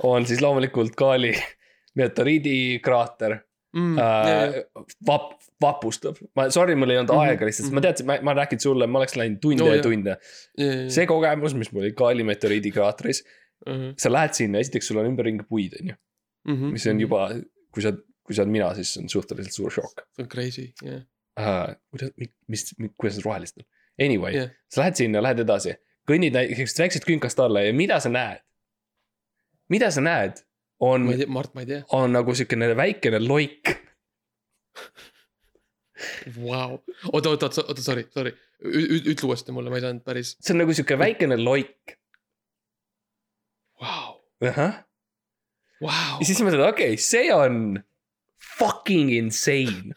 on siis loomulikult Kaali meteoriidikraater
mm, .
äh, . vap- , vapustab , ma , sorry , mul ei olnud
Mhm,
aega lihtsalt , ma
mhm.
teadsin , ma , ma rääkisin sulle , ma oleks läinud tunde
No
ja
jah.
tunde .
see
see kogemus , mis mul oli Kaali meteoriidikraatris ,
Mhm.
sa lähed sinna , esiteks sul on ümberringi puid , on ju . mis
Mhm.
on . juba , kui sa , kui sa oled mina , siis see on suhteliselt suur šokk
see on crazy , jah .
uh, . kuidas , mis, mis , kuidas need rohelised on ? Anyway
Jah.
yeah. , sa lähed sinna , lähed edasi , kõnnid näiteks väiksest künkast alla ja mida sa näed ? mida sa näed , on
ma ei , tea , Mart , ma ei tea .
on nagu siukene väikene loik .
Vau , oota , oota , oota , sorry , sorry . ütle uuesti mulle , ma ei saanud päris .
see on nagu siuke väikene loik .
Vau ,
ja
vau .
siis mõtled , okei okay, , see on fucking insane .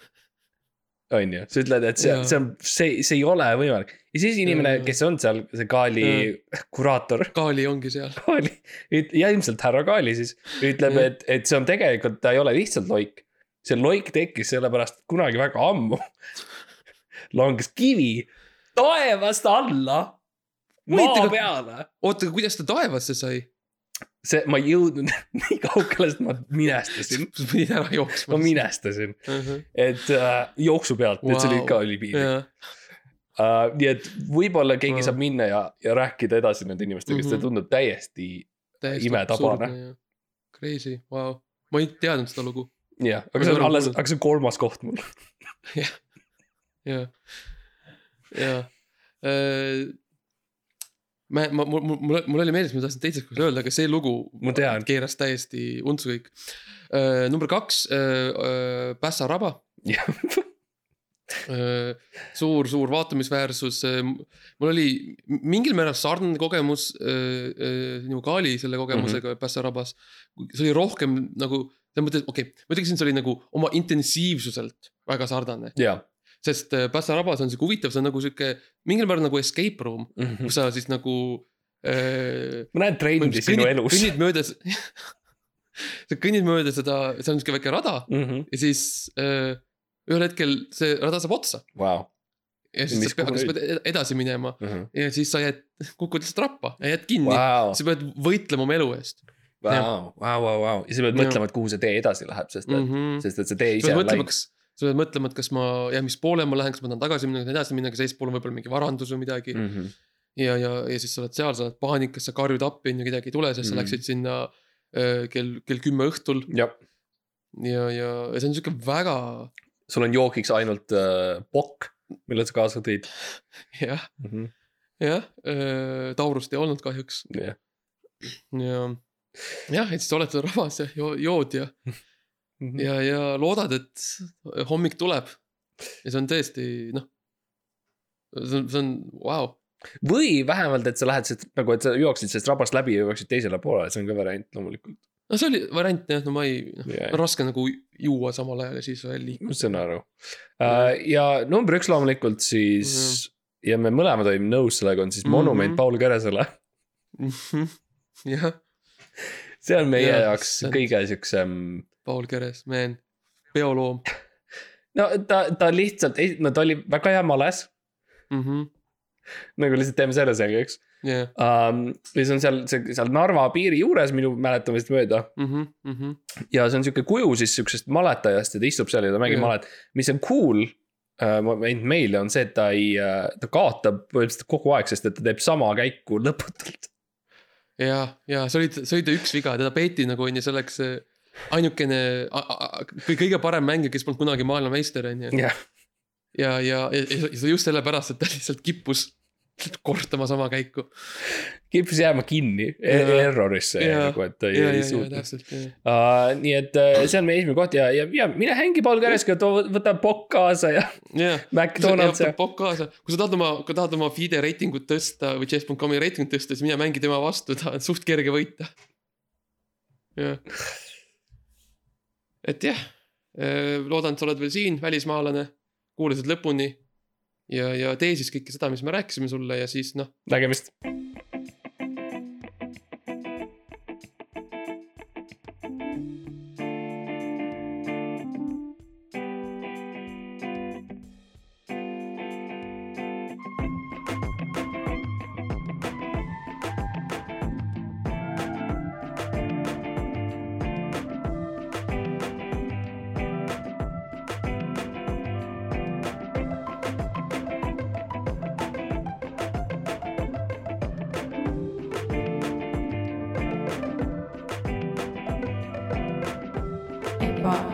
on ju , sa ütled , et see
Jaa.
yeah. , see on , see , see ei ole võimalik . ja siis inimene
Jaa. ,
kes on seal , see Kaali kuraator ,
Kaali ongi seal .
Kaali , ja ilmselt härra Kaali siis ütleb ,
Jah.
et , et see on tegelikult , ta ei ole lihtsalt loik . see loik tekkis sellepärast , et kunagi väga ammu (laughs) langes kivi taevast alla maa
Huvitav-
peale .
oota , kuidas ta taevasse sai ?
see , ma ei jõudnud (laughs) nii kaugele , sest ma minestasin ,
(laughs) sa pidid ära jooksma Mhm.
ma . minestasin , et äh, jooksu pealt wow. , et see oli
Vau.
ikka oli piinlik
jah ,
uh, . nii et võib-olla keegi
Vau.
saab minna ja , ja rääkida edasi nende inimestega , sest see
Mhm.
tundub täiesti
täiesti
Imetabane.
absurdne, jah. Crazy , vau . ma ei teadnud seda lugu .
jah , aga
Ma
see
ei
on
ole
alles ,
kuulnud.
aga see on kolmas koht mul .
jah , jah . ma , Äh, ma , mul , mul , mul oli meeles , ma tahtsin teiseks korraks öelda , aga see lugu
Ma tean.
keeras täiesti untsu kõik . number kaks , äh, Pässa raba . (laughs)
Jah.
Äh, suur , suur vaatamisväärsus . mul oli mingil määral sarnane kogemus nagu Kaali selle kogemusega mm -hmm. Pässa rabas . see oli rohkem nagu , selles mõttes , okei okay, , ma ütleksin , see oli nagu oma intensiivsuselt väga sarnane .
jaa .
sest äh, Pässa rabas on sihuke huvitav , see on nagu sihuke mingil määral nagu escape room ,
Mhm.
kus sa siis nagu äh, .
ma näen trendi sinu elus .
kõnnid mööda s- (laughs) sa kõnnid mööda seda , seal on sihuke väike rada
Mhm.
ja siis äh, ühel hetkel see rada saab otsa
Vau .
ja siis
Mis
sa pead ,
kuhu
sa
nüüd?
pead ed- edasi minema ja siis sa jääd , kukud lihtsalt rappa ja jääd kinni wow. .
Mhm. Vau ,
sa pead võitlema oma elu eest
vau , vau , vau , ja sa pead
Jah.
mõtlema , et kuhu see tee edasi läheb , sest
mm .
et ,
-hmm.
sest et see tee
sa
ise
pead
on
mõtlema ,
läinud .
kas , sa pead mõtlema , et kas ma jah , mis poole ma lähen , kas ma tahan tagasi minna , edasi minna , kas eespool on võib-olla mingi varandus või
Mhm.
midagi mm. . ja , ja , ja siis sa oled seal , sa oled paanikas , sa karjud appi , on ju , kedagi ei tule , sest sa
Mhm.
läksid sinna öö, kell , kell kümme õhtul
jah ,
ja , ja , ja see on sihuke väga , (laughs)
sul on joogiks ainult äh, pokk , mille sa kaasa tõid . Mhm.
jah , jah , Taurust ei olnud kahjuks
jah ,
ja , jah , et siis oled seal rabas ja joo- jood ja ,
Mm.
ja , ja loodad , et hommik tuleb . ja see on tõesti , noh , see on , see on , vau ,
või vähemalt , et sa lähed sealt nagu , et sa jooksid sellest rabast läbi ja jooksid teisele poolele , see on ka variant loomulikult .
no see oli variant jah , no ma ei , raske nagu juua samal ajal ja siis veel liikuda
ma saan aru uh, . ja number üks loomulikult siis ja me mõlemad olime nõus sellega , on siis monument mm
Mhm.
-hmm. Paul
(laughs)
Keresele . (laughs)
jah ,
see on meie
Jah,
jaoks
see on-
kõige siuksem
Paul Keres , man , peoloom
no ta , ta lihtsalt , no ta oli väga hea males ,
mm . -hmm.
nagu lihtsalt teeme selle selgeks .
jah ,
um, . ja see on seal , seal Narva piiri juures minu mäletamist mööda
mhmh ,
ja see on sihuke kuju siis sihukesest maletajast ja ta istub seal ja ta mängib
Jah.
malet , mis on cool . ainult meile on see , et ta ei , ta kaotab põhimõtteliselt kogu aeg , sest et ta teeb sama käiku lõputult .
ja , ja see oli , see oli ta üks viga , teda peeti nagu onju selleks äh, ainukene , kõige parem mängija , kes polnud kunagi maailmameister onju .
jah ,
ja , ja , ja ja seda just sellepärast , et ta lihtsalt kippus lihtsalt kordama sama käiku .
kippus jääma kinni e
Jah.
error'isse
Jah.
nagu , et ta ei,
ja , ja ,
ei
ja
suutnud .
täpselt , jah .
Uh, nii et uh, see on meie esimene koht ja , ja , ja mine hängi palli käresega , too , võta pokk kaasa ja
jah ,
McDonalds ja .
pokk kaasa , kui sa tahad oma , kui tahad oma FIDE reitingut tõsta või chess.com'i reitingut tõsta , siis mine mängi tema vastu , ta on suht kerge võita . jah . et jah , loodan , et sa oled veel siin , välismaalane , kuulasid lõpuni ja , ja tee siis kõike seda , mis me rääkisime sulle ja siis noh ,
nägemist .
Goodbye.